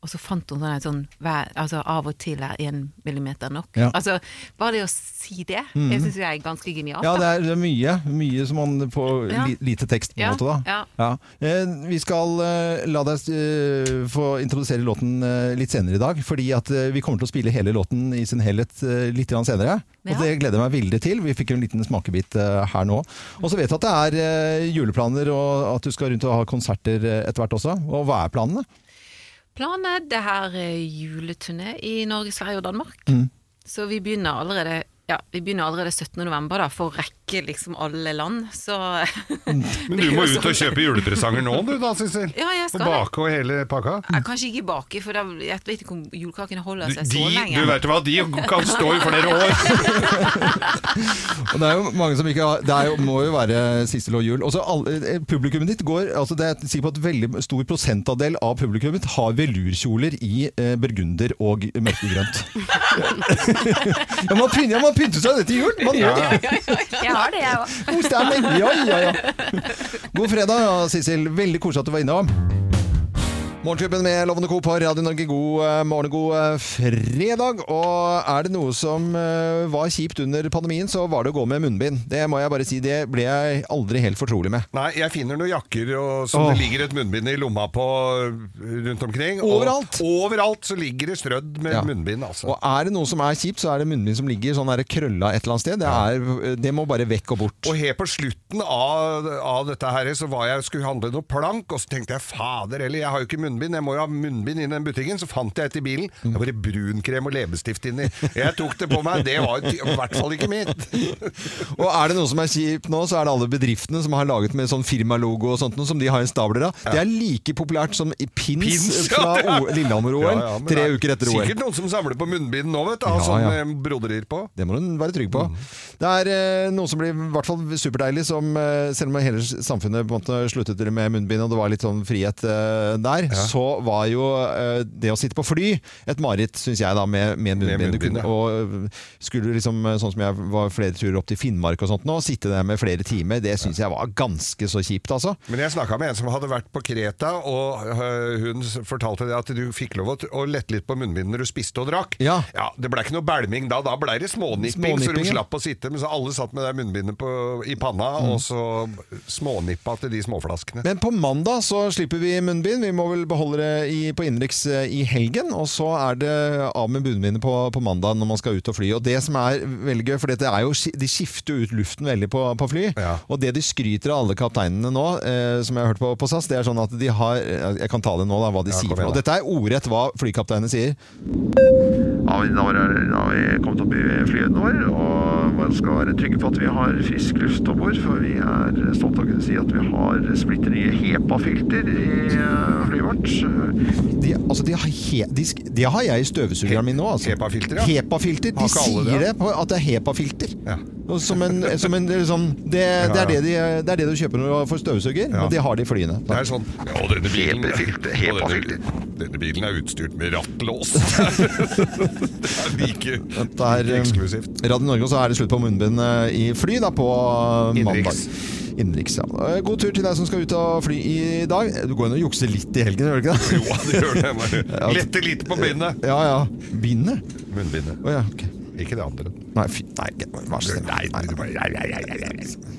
Speaker 16: Og så fant hun sånn en sånn hver- altså Av og til er én millimeter nok.
Speaker 1: Ja.
Speaker 16: Altså, bare det å si det,
Speaker 1: Mhm.
Speaker 16: jeg syns jeg er ganske genialt.
Speaker 1: Ja,
Speaker 16: da.
Speaker 1: det er, det er mye. Mye som man får
Speaker 16: Ja.
Speaker 1: li, lite tekst på en
Speaker 16: Ja,
Speaker 1: måte, da. Ja. Eh, Vi skal eh, la deg eh, få introdusere låten eh, litt senere i dag, fordi at eh, vi kommer til å spille hele låten i sin helhet eh, litt grann senere.
Speaker 16: Ja.
Speaker 1: Og det gleder jeg meg veldig til. Vi fikk jo en liten smakebit eh, her nå. Og så vet jeg at det er eh, juleplaner, og at du skal rundt og ha konserter eh, etter hvert også. Og hva er planene?
Speaker 16: Planen er det her eh, juleturné i Norge, Sverige og Danmark.
Speaker 1: Mm.
Speaker 16: Så vi begynner allerede ja, vi begynner allerede 17. november da, for å rekke liksom alle land. Så
Speaker 2: Men du må ut og kjøpe julepresanger nå, du da, Sissel.
Speaker 16: Ja, jeg skal
Speaker 2: og bake og hele pakka.
Speaker 16: Ja, Kanskje ikke bake, for da, jeg vet ikke om julekakene holder seg
Speaker 2: De,
Speaker 16: så lenge.
Speaker 2: du vet hva, de kan stå i flere år.
Speaker 1: Og det er jo mange som ikke har Det er jo, må jo være Sissel og Jul. Også alle, eh, publikummet ditt går altså det er jeg sikker på at veldig stor prosentandel av publikummet har velurkjoler i eh, burgunder og mørkegrønt. ja, man, pynter, ja, man pynter seg dette i jul! Man gjør det.
Speaker 3: Jeg har det, jeg òg.
Speaker 1: God stemning! Ja, ja, ja. God fredag, ja, Sissel. Veldig koselig at du var innom. Morgenklubben med Lovende Co på Radio Norge, god eh, morgen og god eh, fredag. Og er det noe som eh, var kjipt under pandemien, så var det å gå med munnbind. Det må jeg bare si, det ble jeg aldri helt fortrolig med.
Speaker 2: Nei, jeg finner noen jakker og, som
Speaker 1: Åh.
Speaker 2: det ligger et munnbind i lomma på øh, rundt omkring.
Speaker 1: Overalt.
Speaker 2: Og overalt så ligger det strødd med
Speaker 1: Ja.
Speaker 2: munnbind, altså.
Speaker 1: Og er det noe som er kjipt, så er det munnbind som ligger sånn der krølla et eller annet sted. Det, er, det må bare vekk og bort.
Speaker 2: Og helt på slutten av, av dette her, så var jeg skulle handle noe plank, og så tenkte jeg fader eller jeg har jo ikke munnbind, jeg må jo ha munnbind inn i den butikken. Så fant jeg et i bilen. Det var det brunkrem og leppestift inni. Jeg tok det på meg, det var jo ty- i hvert fall ikke mitt.
Speaker 1: Og er det noe som er kjipt nå, så er det alle bedriftene som har laget med sånn firmalogo og sånt noe, som de har en stabler av. Det er like populært som i pins,
Speaker 2: Pins, ja,
Speaker 1: fra
Speaker 2: det er-
Speaker 1: O- Lillehammer-OL
Speaker 2: Ja, ja, men
Speaker 1: tre
Speaker 2: det er
Speaker 1: uker etter OL.
Speaker 2: Sikkert noen som samler på munnbind nå, vet du.
Speaker 1: Ja,
Speaker 2: Ja, sånn
Speaker 1: ja.
Speaker 2: ja. broderir på.
Speaker 1: Det må du være trygg på.
Speaker 2: Mm.
Speaker 1: Det er eh, noe som blir i hvert fall superdeilig, som eh, selv om hele samfunnet på en måte sluttet med munnbind, og det var litt sånn frihet eh, der, så var jo eh, det å sitte på fly et mareritt, syns jeg, da, med, med munnbind. Du
Speaker 2: munnbind,
Speaker 1: kunne,
Speaker 2: ja.
Speaker 1: og eh, skulle liksom, eh, sånn som jeg var flere turer opp til Finnmark og sånt nå, sitte der med flere timer, det syns jeg var ganske så kjipt, altså.
Speaker 2: Men jeg snakka med en som hadde vært på Kreta, og øh, hun s- fortalte det at du fikk lov å t- å lette litt på munnbindet når du spiste og drakk. Ja. det blei ikke noe bælming da, da blei det smånipping, så
Speaker 1: Smånipping,
Speaker 2: de
Speaker 1: ja. Mm.
Speaker 2: slapp å sitte. Men så alle satt med det munnbindet på, i panna, og så smånippa til de småflaskene.
Speaker 1: Men på mandag så slipper vi munnbind. Vi må vel beholde det i, på innenriks eh, i helgen. Og så er det av med munnbindet på, på mandag når man skal ut og fly. Og det som er veldig gøy, for dette er jo, ski- de skifter jo ut luften veldig på, på fly. Og det de skryter av alle kapteinene nå, eh, som jeg har hørt på, på SAS, det er sånn at de har eh, Jeg kan ta det nå, da, hva de
Speaker 17: Ja, kom
Speaker 1: sier.
Speaker 17: igjen,
Speaker 1: for noe.
Speaker 17: da.
Speaker 1: dette er ordrett hva flykapteinene sier.
Speaker 17: Da har vi, da var det- da har vi kommet opp i flyhøyden vår, og man skal være trygge på at vi har frisk luft om bord, for vi er stolte av å kunne si at vi har splitter nye HEPA-filter i eh, flyet vårt.
Speaker 1: De, altså, de har, he, de, sk- de har jeg i støvsugeren min nå. Altså.
Speaker 2: HEPA-filter, ja.
Speaker 1: HEPA-filter,
Speaker 2: Har
Speaker 1: De
Speaker 2: ikke alle
Speaker 1: sier
Speaker 2: det,
Speaker 1: det, på at det er HEPA-filter. Og Som en, som en sånn, det, det,
Speaker 2: Ja, ja.
Speaker 1: er det, de, det er det du kjøper når du får støvsuger, og de har det i flyene.
Speaker 2: Det er sånn Ja, denne bilen, og denne, denne bilen er utstyrt med rattlås. det er
Speaker 1: Det
Speaker 2: like,
Speaker 1: er,
Speaker 2: like
Speaker 1: eh,
Speaker 2: eksklusivt.
Speaker 1: Radio Norge, og så er det slutt på munnbind eh, i fly da, på eh, mandag.
Speaker 2: Innenriks.
Speaker 1: Innenriks. Ja. Eh, God tur til deg som skal ut og fly i dag. Du går inn og jukser litt i helgen, gjør du ikke det?
Speaker 2: Jo, det gjør det. Bare Lette litt på bindet.
Speaker 1: Ja, ja. Bindet?
Speaker 2: Munnbindet.
Speaker 1: Å ja, ok.
Speaker 2: Ikke det andre.
Speaker 1: Nei, fy, nei, ikke- vær så snill.
Speaker 2: Nei, du bare- ja, ja, ja, ja, ja.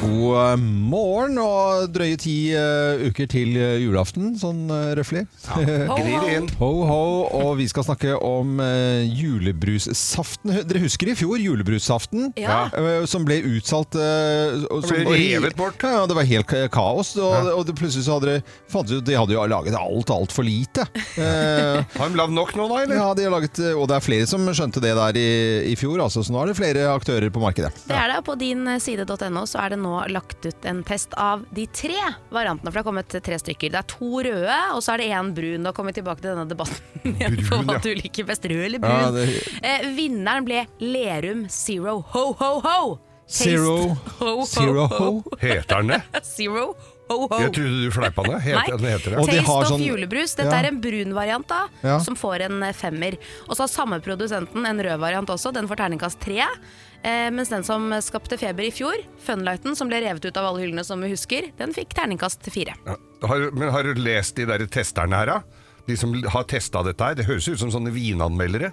Speaker 1: God eh, morgen og drøye ti eh, uker til eh, julaften, sånn uh, røffelig.
Speaker 2: Ho, ho. Glir inn.
Speaker 1: Ho, ho. Og vi skal snakke om eh, julebrussaften. Hu- Dere husker i fjor julebrussaften?
Speaker 2: Ja.
Speaker 1: Eh, som ble utsolgt. eh, og-
Speaker 2: Det ble
Speaker 1: som- og-
Speaker 2: revet bort.
Speaker 1: Ja, ja, det var helt ka- kaos. Og, og det, plutselig så hadde dere fant ut De hadde jo laget alt, alt for lite. Eh,
Speaker 2: Har de lagd nok nå, da? eller?
Speaker 1: Ja, de har laget, eh, og det er flere som skjønte det der i, i fjor, altså, så nå er det flere aktører på markedet.
Speaker 3: Det er det, og På din eh, side.no så er det nå lagt ut en test av de tre variantene. For det har kommet tre stykker. Det er to røde, og så er det én brun. Da kommer vi tilbake til denne debatten igjen på
Speaker 1: Brun,
Speaker 3: hva
Speaker 1: ja.
Speaker 3: du liker best, rød eller brun.
Speaker 1: Ja, det-
Speaker 3: eh, vinneren ble Lerum Zero Ho Ho Ho. Taste
Speaker 1: Zero-
Speaker 3: Ho Ho
Speaker 1: Zero
Speaker 3: Ho.
Speaker 1: Ho.
Speaker 2: Heter den det?
Speaker 3: Zero Ho Ho.
Speaker 2: Jeg trodde du fleipa det.
Speaker 3: Nei,
Speaker 2: Heter, den heter det.
Speaker 3: Taste of julebrus. Dette er en brun variant da,
Speaker 2: Ja.
Speaker 3: som får en eh, femmer. Og så har samme produsenten en rød variant også, den får terningkast tre. Eh, mens den som skapte feber i fjor, Funlighten, som ble revet ut av alle hyllene som vi husker, den fikk terningkast fire.
Speaker 2: Ja. Har, men har du lest de der testerne her, da? De som har testa dette her. Det høres ut som sånne vinanmeldere.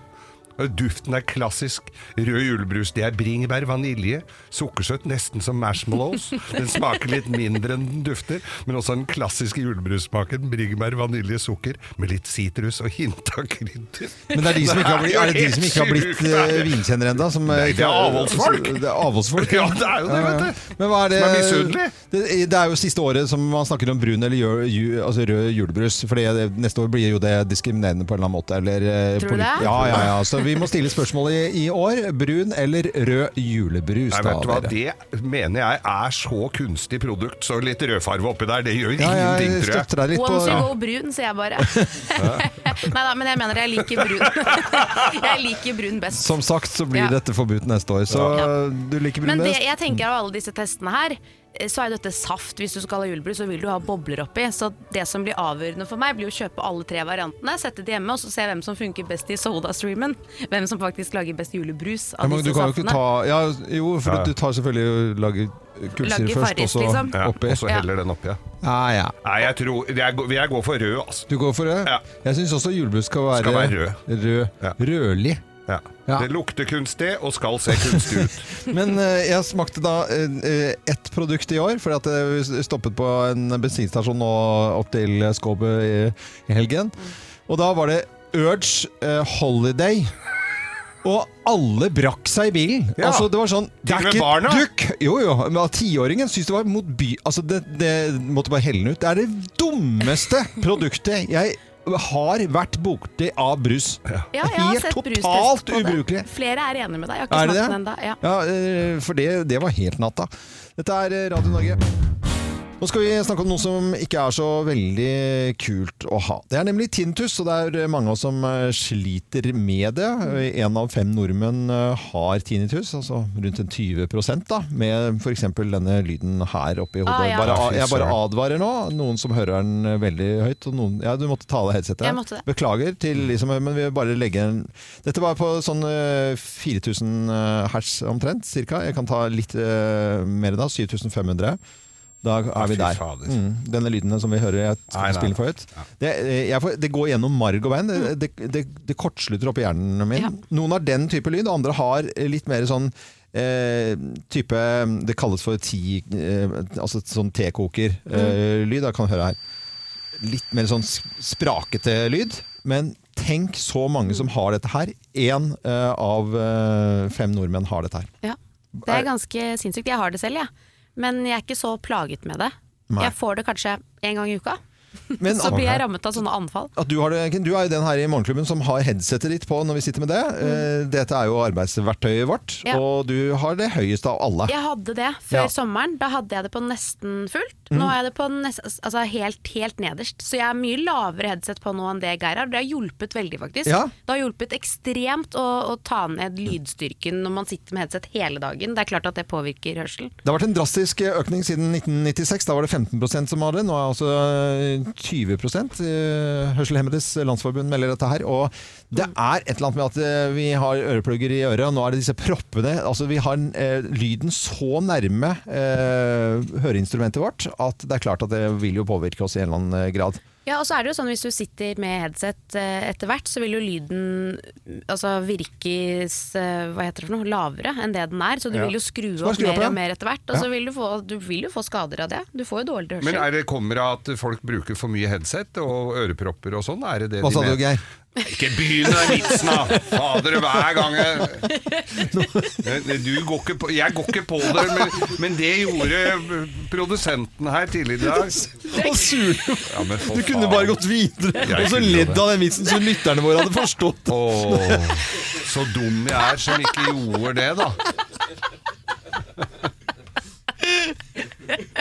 Speaker 2: Duften er klassisk. Rød julebrus. Det er bringebær, vanilje, sukkersøtt, nesten som marshmallows. Den smaker litt mindre enn den dufter, men også den klassiske julebrussmaken. Bringebær, vanilje, sukker med litt sitrus og hint av krydder.
Speaker 1: Men det er de som ikke har blitt, er det de som ikke har blitt eh, vinkjennere ennå?
Speaker 2: Nei, det er avholdsfolk.
Speaker 1: Det er avholdsfolk.
Speaker 2: Ja, det er jo det, vet du.
Speaker 1: Ja, ja. Men hva er det
Speaker 2: Som er misunnelige.
Speaker 1: det, det er jo siste året som man snakker om brun eller jø- ju- altså rød julebrus. For neste år blir jo det diskriminerende på en eller annen måte. Eller, eh,
Speaker 3: Tror du
Speaker 1: polit-
Speaker 3: det?
Speaker 1: Ja, ja, ja. Så vi må stille spørsmålet i, i år. Brun eller rød julebrus?
Speaker 2: Nei, vet du hva,
Speaker 1: da, dere?
Speaker 2: Det mener jeg er så kunstig produkt, så litt rødfarve oppi der, det gjør
Speaker 1: Ja, jeg
Speaker 2: ingenting, tror jeg.
Speaker 1: støtter deg litt på-
Speaker 3: Once you go brun, sier jeg bare. Nei da, men jeg mener jeg liker brun. jeg liker brun best.
Speaker 1: Som sagt så blir
Speaker 3: Ja.
Speaker 1: dette forbudt neste år, så du liker brun
Speaker 3: Men det
Speaker 1: best.
Speaker 3: jeg tenker av alle disse testene her, eh, så er dette saft. Hvis du skal ha julebrus, så vil du ha bobler oppi. Så det som blir avgjørende for meg, blir å kjøpe alle tre variantene, sette det hjemme, og så se hvem som funker best i Sodastreamen. Hvem som faktisk lager best julebrus
Speaker 1: Ja,
Speaker 3: av
Speaker 1: men du
Speaker 3: disse
Speaker 1: kan jo ikke
Speaker 3: saftene.
Speaker 1: ta ja, Jo, for
Speaker 2: Ja.
Speaker 1: at du tar selvfølgelig og lager kullsyre
Speaker 3: Lager
Speaker 1: først, og
Speaker 3: Farris,
Speaker 1: så
Speaker 3: liksom.
Speaker 2: Ja,
Speaker 1: oppi.
Speaker 2: og så heller den oppi. Ja.
Speaker 1: Ja, ja.
Speaker 2: Nei, jeg tror Jeg, går- jeg går for rød, altså.
Speaker 1: Du går for rød? Jeg syns også julebrus skal være,
Speaker 2: Skal være rød.
Speaker 1: rød. Rødlig. Ja.
Speaker 2: Det lukter kunstig og skal se kunstig ut.
Speaker 1: Men eh, jeg smakte da eh, ett produkt i år, for at jeg stoppet på en bensinstasjon nå opp til Skåpet i, i helgen.
Speaker 2: Mm.
Speaker 1: Og da var det Urge eh, Holiday. Og alle brakk seg i bilen.
Speaker 2: Ja.
Speaker 1: Altså, det var sånn det
Speaker 2: Til og
Speaker 1: er
Speaker 2: med
Speaker 1: ikke-
Speaker 2: barna.
Speaker 1: Du k- jo, jo, men at Tiåringen syntes det var motby... Altså, det, det måtte bare helle den ut. Det er det dummeste produktet jeg har vært borti av brus.
Speaker 3: Ja, jeg har
Speaker 1: Helt
Speaker 3: sett brustest
Speaker 1: totalt
Speaker 3: på det.
Speaker 1: ubrukelig.
Speaker 3: Flere er enige med deg. Jeg har
Speaker 1: Er
Speaker 3: ikke
Speaker 1: det
Speaker 3: smakt den
Speaker 1: det?
Speaker 3: ennå. Ja.
Speaker 1: eh, for det, det var helt natta. Dette er eh, Radio Norge. Nå skal vi snakke om noe som ikke er så veldig kult å ha. Det er nemlig tinnitus, og det er eh, mange av oss som eh, sliter med det. Eh, En av fem nordmenn eh, har tinnitus, altså rundt en 20 da, med f.eks. denne lyden her oppe i hodet.
Speaker 3: Ah, ja.
Speaker 1: bare,
Speaker 2: Ah, fy
Speaker 1: jeg bare
Speaker 2: søren.
Speaker 1: advarer nå, noen som hører den eh, veldig høyt. Og noen, ja, du måtte ta av deg headsetet.
Speaker 3: Jeg måtte det.
Speaker 1: Beklager, til, liksom, men vi vil bare legge en Dette var på sånn eh, 4000 eh, hertz omtrent, cirka. Jeg kan ta litt eh, mer da. 7500. Da er vi
Speaker 2: fy
Speaker 1: der.
Speaker 2: fader.
Speaker 1: Mm, denne lyden som vi hører jeg
Speaker 2: Nei, nei,
Speaker 1: spiller for høyt. Det, eh, jeg får, det går gjennom marg og bein. Det, det, det, det kortslutter oppi hjernen min. Noen har den type lyd, andre har litt mer sånn Eh, type Det kalles for ti, eh, altså sånn tekoker-lyd. Eh, lyd. Jeg kan høre her litt mer sånn s- sprakete lyd. Men tenk så mange som har dette her. Én eh, av eh, fem nordmenn har dette her.
Speaker 3: Ja. Det er ganske sinnssykt. Jeg har det selv, jeg. Men jeg er ikke så plaget med det.
Speaker 1: Nei.
Speaker 3: Jeg får det kanskje en gang i uka.
Speaker 1: Men-
Speaker 3: så blir jeg rammet av sånne anfall.
Speaker 1: At du, har det, Ken. du er jo den her i Morgenklubben som har headsetet ditt på når vi sitter med det. Eh, Dette er jo arbeidsverktøyet vårt,
Speaker 3: Ja.
Speaker 1: og du har det høyest av alle.
Speaker 3: Jeg hadde det før
Speaker 1: Ja.
Speaker 3: sommeren. Da hadde jeg det på nesten fullt.
Speaker 1: Mm.
Speaker 3: Nå har jeg det på nest, altså helt, helt nederst. Så jeg har mye lavere headset på nå enn det Geir har. Det har hjulpet veldig, faktisk.
Speaker 1: Ja.
Speaker 3: Det har hjulpet ekstremt å, å ta ned lydstyrken når man sitter med headset hele dagen. Det er klart at det påvirker hørselen.
Speaker 1: Det har vært en drastisk økning siden 1996. Da var det 15 som hadde det. Nå er altså eh, 20 Eh, Hørselhemmedes Landsforbund melder dette her. Og det er et eller annet med at eh, vi har øreplugger i øret, og nå er det disse proppene Altså Vi har eh, lyden så nærme eh, høreinstrumentet vårt at det er klart at det vil jo påvirke oss i en eller annen eh, grad.
Speaker 3: Ja, og så er det jo sånn Hvis du sitter med headset eh, etter hvert, så vil jo lyden altså virkes eh, hva heter det for noe, lavere enn det den er. Så du
Speaker 2: Ja.
Speaker 3: vil jo skru
Speaker 2: Så bare
Speaker 3: opp
Speaker 2: skru opp
Speaker 3: mer
Speaker 2: igjen.
Speaker 3: og mer etter hvert. Og
Speaker 2: Ja.
Speaker 3: så vil du, få, du vil jo få skader av det. Du får jo dårligere
Speaker 2: Men
Speaker 3: hørsel.
Speaker 2: er det kommer av at folk bruker for mye headset og ørepropper og sånn? Er det det
Speaker 1: Hva sa du,
Speaker 2: mener?
Speaker 1: Geir?
Speaker 2: Ikke begynn den vitsen, da! Fader, hver gang jeg Du går ikke på Jeg går ikke på det, men, men det gjorde produsenten her tidligere i dag.
Speaker 1: Og sur.
Speaker 2: Ja, men for
Speaker 1: Du kunne
Speaker 2: faen.
Speaker 1: bare gått videre
Speaker 2: Jeg
Speaker 1: og så
Speaker 2: kunne
Speaker 1: ledd
Speaker 2: det.
Speaker 1: av den vitsen så lytterne våre hadde forstått.
Speaker 2: Åh, så dum jeg er som ikke gjorde det, da.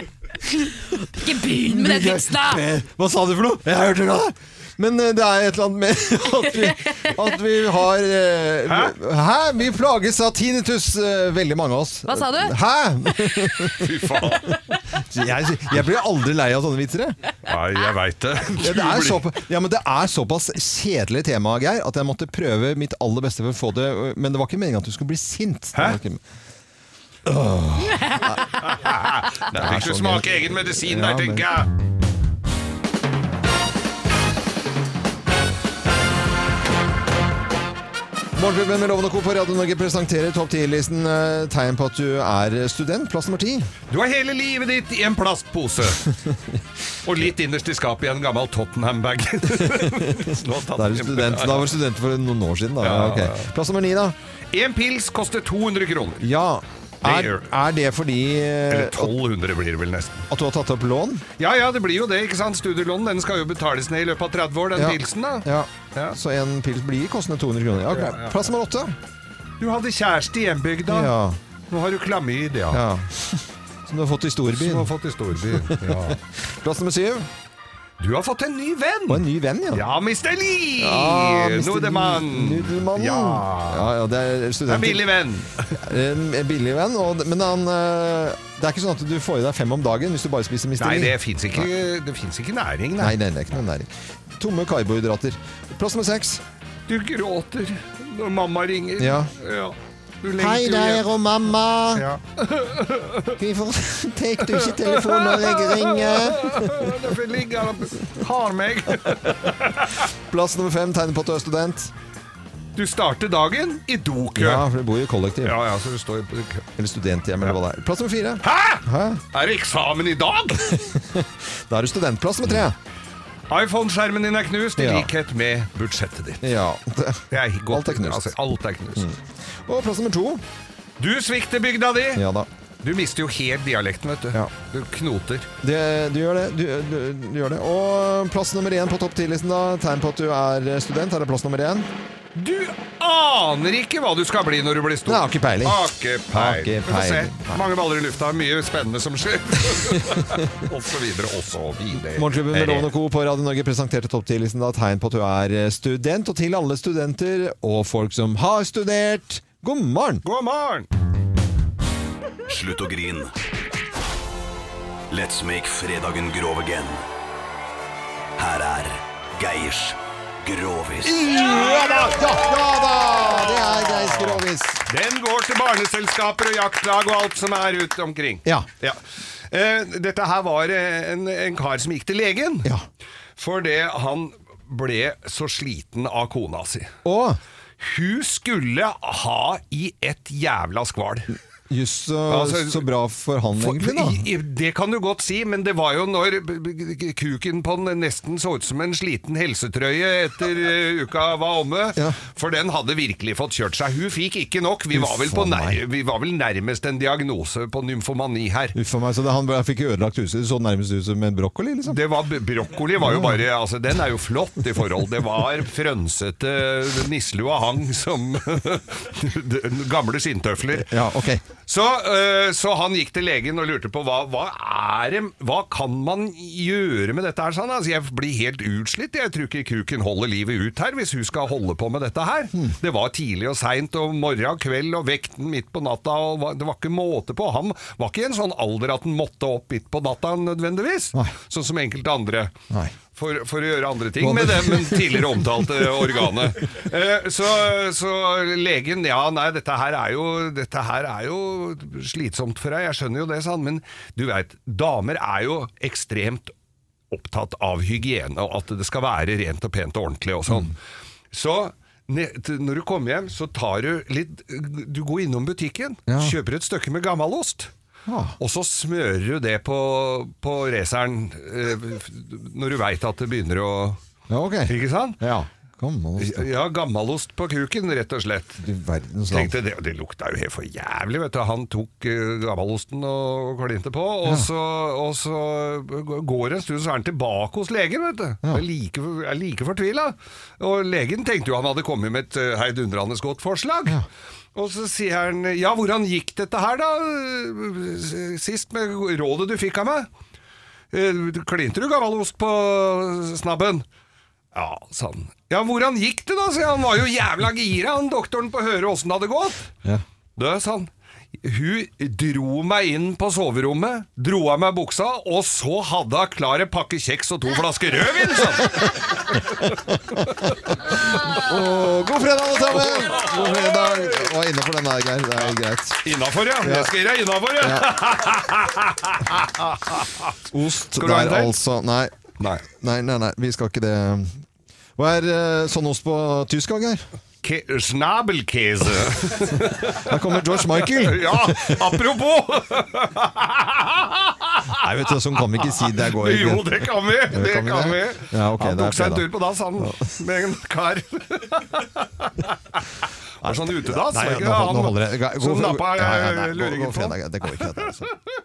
Speaker 3: Ikke begynn med den vitsen, da!
Speaker 1: Eh, Hva sa du for noe? Jeg hørte det! Men eh, det er et eller annet med at vi, at vi har eh, vi- Hæ? Vi plages av tinnitus, eh, veldig mange av oss.
Speaker 3: Hva sa du?
Speaker 1: Hæ?
Speaker 2: Fy faen.
Speaker 1: Jeg, jeg blir aldri lei av sånne vitser. jeg.
Speaker 2: Nei, jeg veit det.
Speaker 1: Ja, det, er såpa, ja, men det er såpass kjedelig tema, Geir, at jeg måtte prøve mitt aller beste for å få det Men det var ikke meningen at du skulle bli sint. Hæ? Åh.
Speaker 2: Der fikk du
Speaker 1: sånn,
Speaker 2: smake
Speaker 1: ja.
Speaker 2: egen medisin
Speaker 1: Ja,
Speaker 2: der,
Speaker 1: men-
Speaker 2: tenker jeg.
Speaker 1: Morgenklubben med Loven og Co. på Radio Norge presenterer topp 10-listen eh, tegn på at du er student. Plass nummer ti.
Speaker 2: Du har hele livet ditt i en plastpose. Og litt innerst i skapet i en gammel Tottenham-bag.
Speaker 1: Da er du student. Da var du student for noen år siden. Da.
Speaker 2: Ja,
Speaker 1: Ok.
Speaker 2: ja, ja.
Speaker 1: Plass nummer ni, da.
Speaker 2: En pils koster 200 kroner.
Speaker 1: Ja. Er, er det fordi eh,
Speaker 2: Eller 1200 blir det vel nesten.
Speaker 1: At du har tatt opp lån?
Speaker 2: Ja, ja, det blir jo det, ikke sant? Studielån, den skal jo betales ned i løpet av 30 år, den pilsen da.
Speaker 1: Ja. Så en pils blir kostende 200 kroner. Ja, ok.
Speaker 2: Ja, ja, ja.
Speaker 1: Plass nummer åtte.
Speaker 2: Du hadde kjæreste i hjembygda.
Speaker 1: Ja.
Speaker 2: Nå har du klamyd, ja.
Speaker 1: Ja. Som du har fått i storbyen.
Speaker 2: Som du har fått i storbyen, ja.
Speaker 1: Plass nummer syv.
Speaker 2: Du har fått en ny venn!
Speaker 1: Og en ny venn, ja.
Speaker 2: Ja, Mr. Lee!
Speaker 1: Ja, Mr.
Speaker 2: Nudemann!
Speaker 1: Nudelmannen.
Speaker 2: Ja.
Speaker 1: Ja, ja, det er
Speaker 2: Det er
Speaker 1: studenter.
Speaker 2: en billig venn.
Speaker 1: En billig venn, og, men han, eh, det er ikke sånn at du får i deg fem om dagen hvis du bare spiser Mr.
Speaker 2: Nei,
Speaker 1: Lee.
Speaker 2: det fins ikke, det finnes ikke næring,
Speaker 1: Nei, nei, det er ikke noe næring. Tomme karbohydrater. Plass nummer seks.
Speaker 2: Du gråter når mamma ringer.
Speaker 1: Ja.
Speaker 2: Du lengter jo hjem.
Speaker 1: og mamma.
Speaker 2: Ja.
Speaker 1: Hvorfor tar
Speaker 2: du ikke telefonen når jeg ringer? Derfor ligger han og har meg.
Speaker 1: Plass nummer fem tegner på at du er student.
Speaker 2: Du starter dagen i dokø.
Speaker 1: Ja, for du bor jo i kollektiv.
Speaker 2: Ja, ja, så du står i kø.
Speaker 1: Eller studenthjem, eller hva det er. Plass nummer fire. Hæ?
Speaker 2: Er det eksamen i dag?
Speaker 1: Da er du studentplass nummer tre.
Speaker 2: iPhone-skjermen din er knust, i
Speaker 1: Ja.
Speaker 2: likhet med budsjettet ditt.
Speaker 1: Ja.
Speaker 2: Det er godt. Alt er knust. Altså, alt er knust.
Speaker 1: Og plass nummer to.
Speaker 2: Du svikter bygda di!
Speaker 1: Ja da.
Speaker 2: Du mister jo helt dialekten, vet du. Du knoter.
Speaker 1: Det, du gjør det. Du, du, du gjør det. Og plass nummer én på topp ti-listen, da. Tegn på at du er student. Her er plass nummer én.
Speaker 2: Du aner ikke hva du skal bli når du blir stor.
Speaker 1: Nei, har ikke peiling.
Speaker 2: Har ikke
Speaker 1: Har ikke
Speaker 2: peiling. Vi får se.
Speaker 1: peiling. Nei.
Speaker 2: Mange baller i lufta, mye spennende som skjer. og så videre, og så videre.
Speaker 1: Morgenklubben med Loven og Co. på Radio Norge presenterte topp 10-listen da tegn på at du er eh, student. Og til alle studenter og folk som har studert, god morgen!
Speaker 2: God morgen!
Speaker 18: Slutt å grin. Let's make fredagen grov again. Her er Geirs Grovis.
Speaker 1: Ja da! Ja, ja da! Det er Geis Grovis.
Speaker 2: Den går til barneselskaper og jaktlag og alt som er ute omkring.
Speaker 1: Ja.
Speaker 2: Eh, dette her var eh, en, en kar som gikk til legen. Fordi han ble så sliten av kona si.
Speaker 1: Og?
Speaker 2: Hun skulle ha i et jævla skval.
Speaker 1: Jøss, så,
Speaker 2: Altså,
Speaker 1: så bra for han,
Speaker 2: For-
Speaker 1: egentlig, da.
Speaker 2: i- i- Det kan du godt si, men det var jo når b- b- kuken på den nesten så ut som en sliten helsetrøye etter eh, uka var omme. For den hadde virkelig fått kjørt seg. Hun fikk ikke nok. Vi var vel, på
Speaker 1: Uffa
Speaker 2: nær, vi var vel nærmest en diagnose på nymfomani her.
Speaker 1: Uff a meg, så det, han ble- fikk ødelagt huset. Det så nærmest ut som en brokkoli, liksom.
Speaker 2: Det var, b- brokkoli var jo bare altså, Den er jo flott i forhold. Det var frønsete nisselua hang som gamle skinntøfler.
Speaker 1: Ja, ok.
Speaker 2: Så, øh, så han gikk til legen og lurte på hva, hva er det, hva kan man gjøre med dette her, sa han. Altså, jeg blir helt utslitt, jeg tror ikke kuken holder livet ut her hvis hun skal holde på med dette her. Det var tidlig og seint og morgen og kveld og vekten midt på natta, og hva- det var ikke måte på. Han var ikke i en sånn alder at han måtte opp midt på natta nødvendigvis, sånn som enkelte andre.
Speaker 1: Nei.
Speaker 2: For, for å gjøre andre ting
Speaker 1: Hva
Speaker 2: med
Speaker 1: det-
Speaker 2: det men tidligere omtalte organet. Eh, Så, så legen Ja, nei, dette her, er jo, dette her er jo slitsomt for deg, jeg skjønner jo det, sa han. Men du veit, damer er jo ekstremt opptatt av hygiene, og at det skal være rent og pent og ordentlig og sånn. Så ne- t- når du kommer hjem, så tar du litt Du går innom butikken,
Speaker 1: Ja.
Speaker 2: kjøper et stykke med gammalost.
Speaker 1: Ah,
Speaker 2: Og så smører du det på, på raceren eh, når du veit at det begynner å
Speaker 1: Ja, ok.
Speaker 2: Ikke sant?
Speaker 1: Ja. altså. Gammel
Speaker 2: Ja, gammalost på kuken, rett og slett.
Speaker 1: verdens land.
Speaker 2: Tenkte det, det lukta jo helt for jævlig, vet du. Han tok eh, gammalosten og klinte på,
Speaker 1: Ja.
Speaker 2: og, så, og så går det en stund, så er han tilbake hos legen, vet du.
Speaker 1: Ja.
Speaker 2: Jeg er like, jeg er like fortvila. Og legen tenkte jo han hadde kommet med et eh, heidundrende godt forslag. Og så sier han Ja, hvordan gikk dette her, da? eh, Sist, med rådet du fikk av meg? Eh, Klinte du gammalost på snabben? Ja, sa han. Ja, hvordan gikk det, da? sier han. Han var jo jævla gira, han doktoren, på å høre åssen det hadde gått.
Speaker 1: Ja.
Speaker 2: Du, sa han. Hun dro meg inn på soverommet, dro av meg buksa, og så hadde hun klar en pakke kjeks og to flasker rødvin! sånn. sa han.
Speaker 1: Åh, god fredag, alle sammen! God fredag. Og innafor den der, Geir. Det er greit.
Speaker 2: Innafor, ja. Jeg skal gi deg innafor, ja.
Speaker 1: Ost
Speaker 2: Skal du ha en
Speaker 1: der,
Speaker 2: til?
Speaker 1: altså. Nei.
Speaker 2: Nei.
Speaker 1: nei, nei, nei, vi skal ikke det. Hva er eh, sånn ost på tysk, Geir?
Speaker 2: Ke- Schnabelkäse.
Speaker 1: Her kommer George Michael.
Speaker 2: Ja, apropos!
Speaker 1: Nei, vet du, sånn kan vi ikke si. Det går ikke.
Speaker 2: Jo, det kan vi! Det kan vi.
Speaker 1: Ja, ok,
Speaker 2: han
Speaker 1: det er
Speaker 2: tok seg en
Speaker 1: fredag.
Speaker 2: tur på dass, han, med en kar. Det er sånn utedass.
Speaker 1: Nei,
Speaker 2: er det ikke
Speaker 1: nå,
Speaker 2: det?
Speaker 1: nå holder det.
Speaker 2: Som
Speaker 1: God-
Speaker 2: nappa
Speaker 1: ja, ja, ja, nei,
Speaker 2: luringen
Speaker 1: god
Speaker 2: på. eh,
Speaker 1: fredag. Det går ikke, dette. Altså.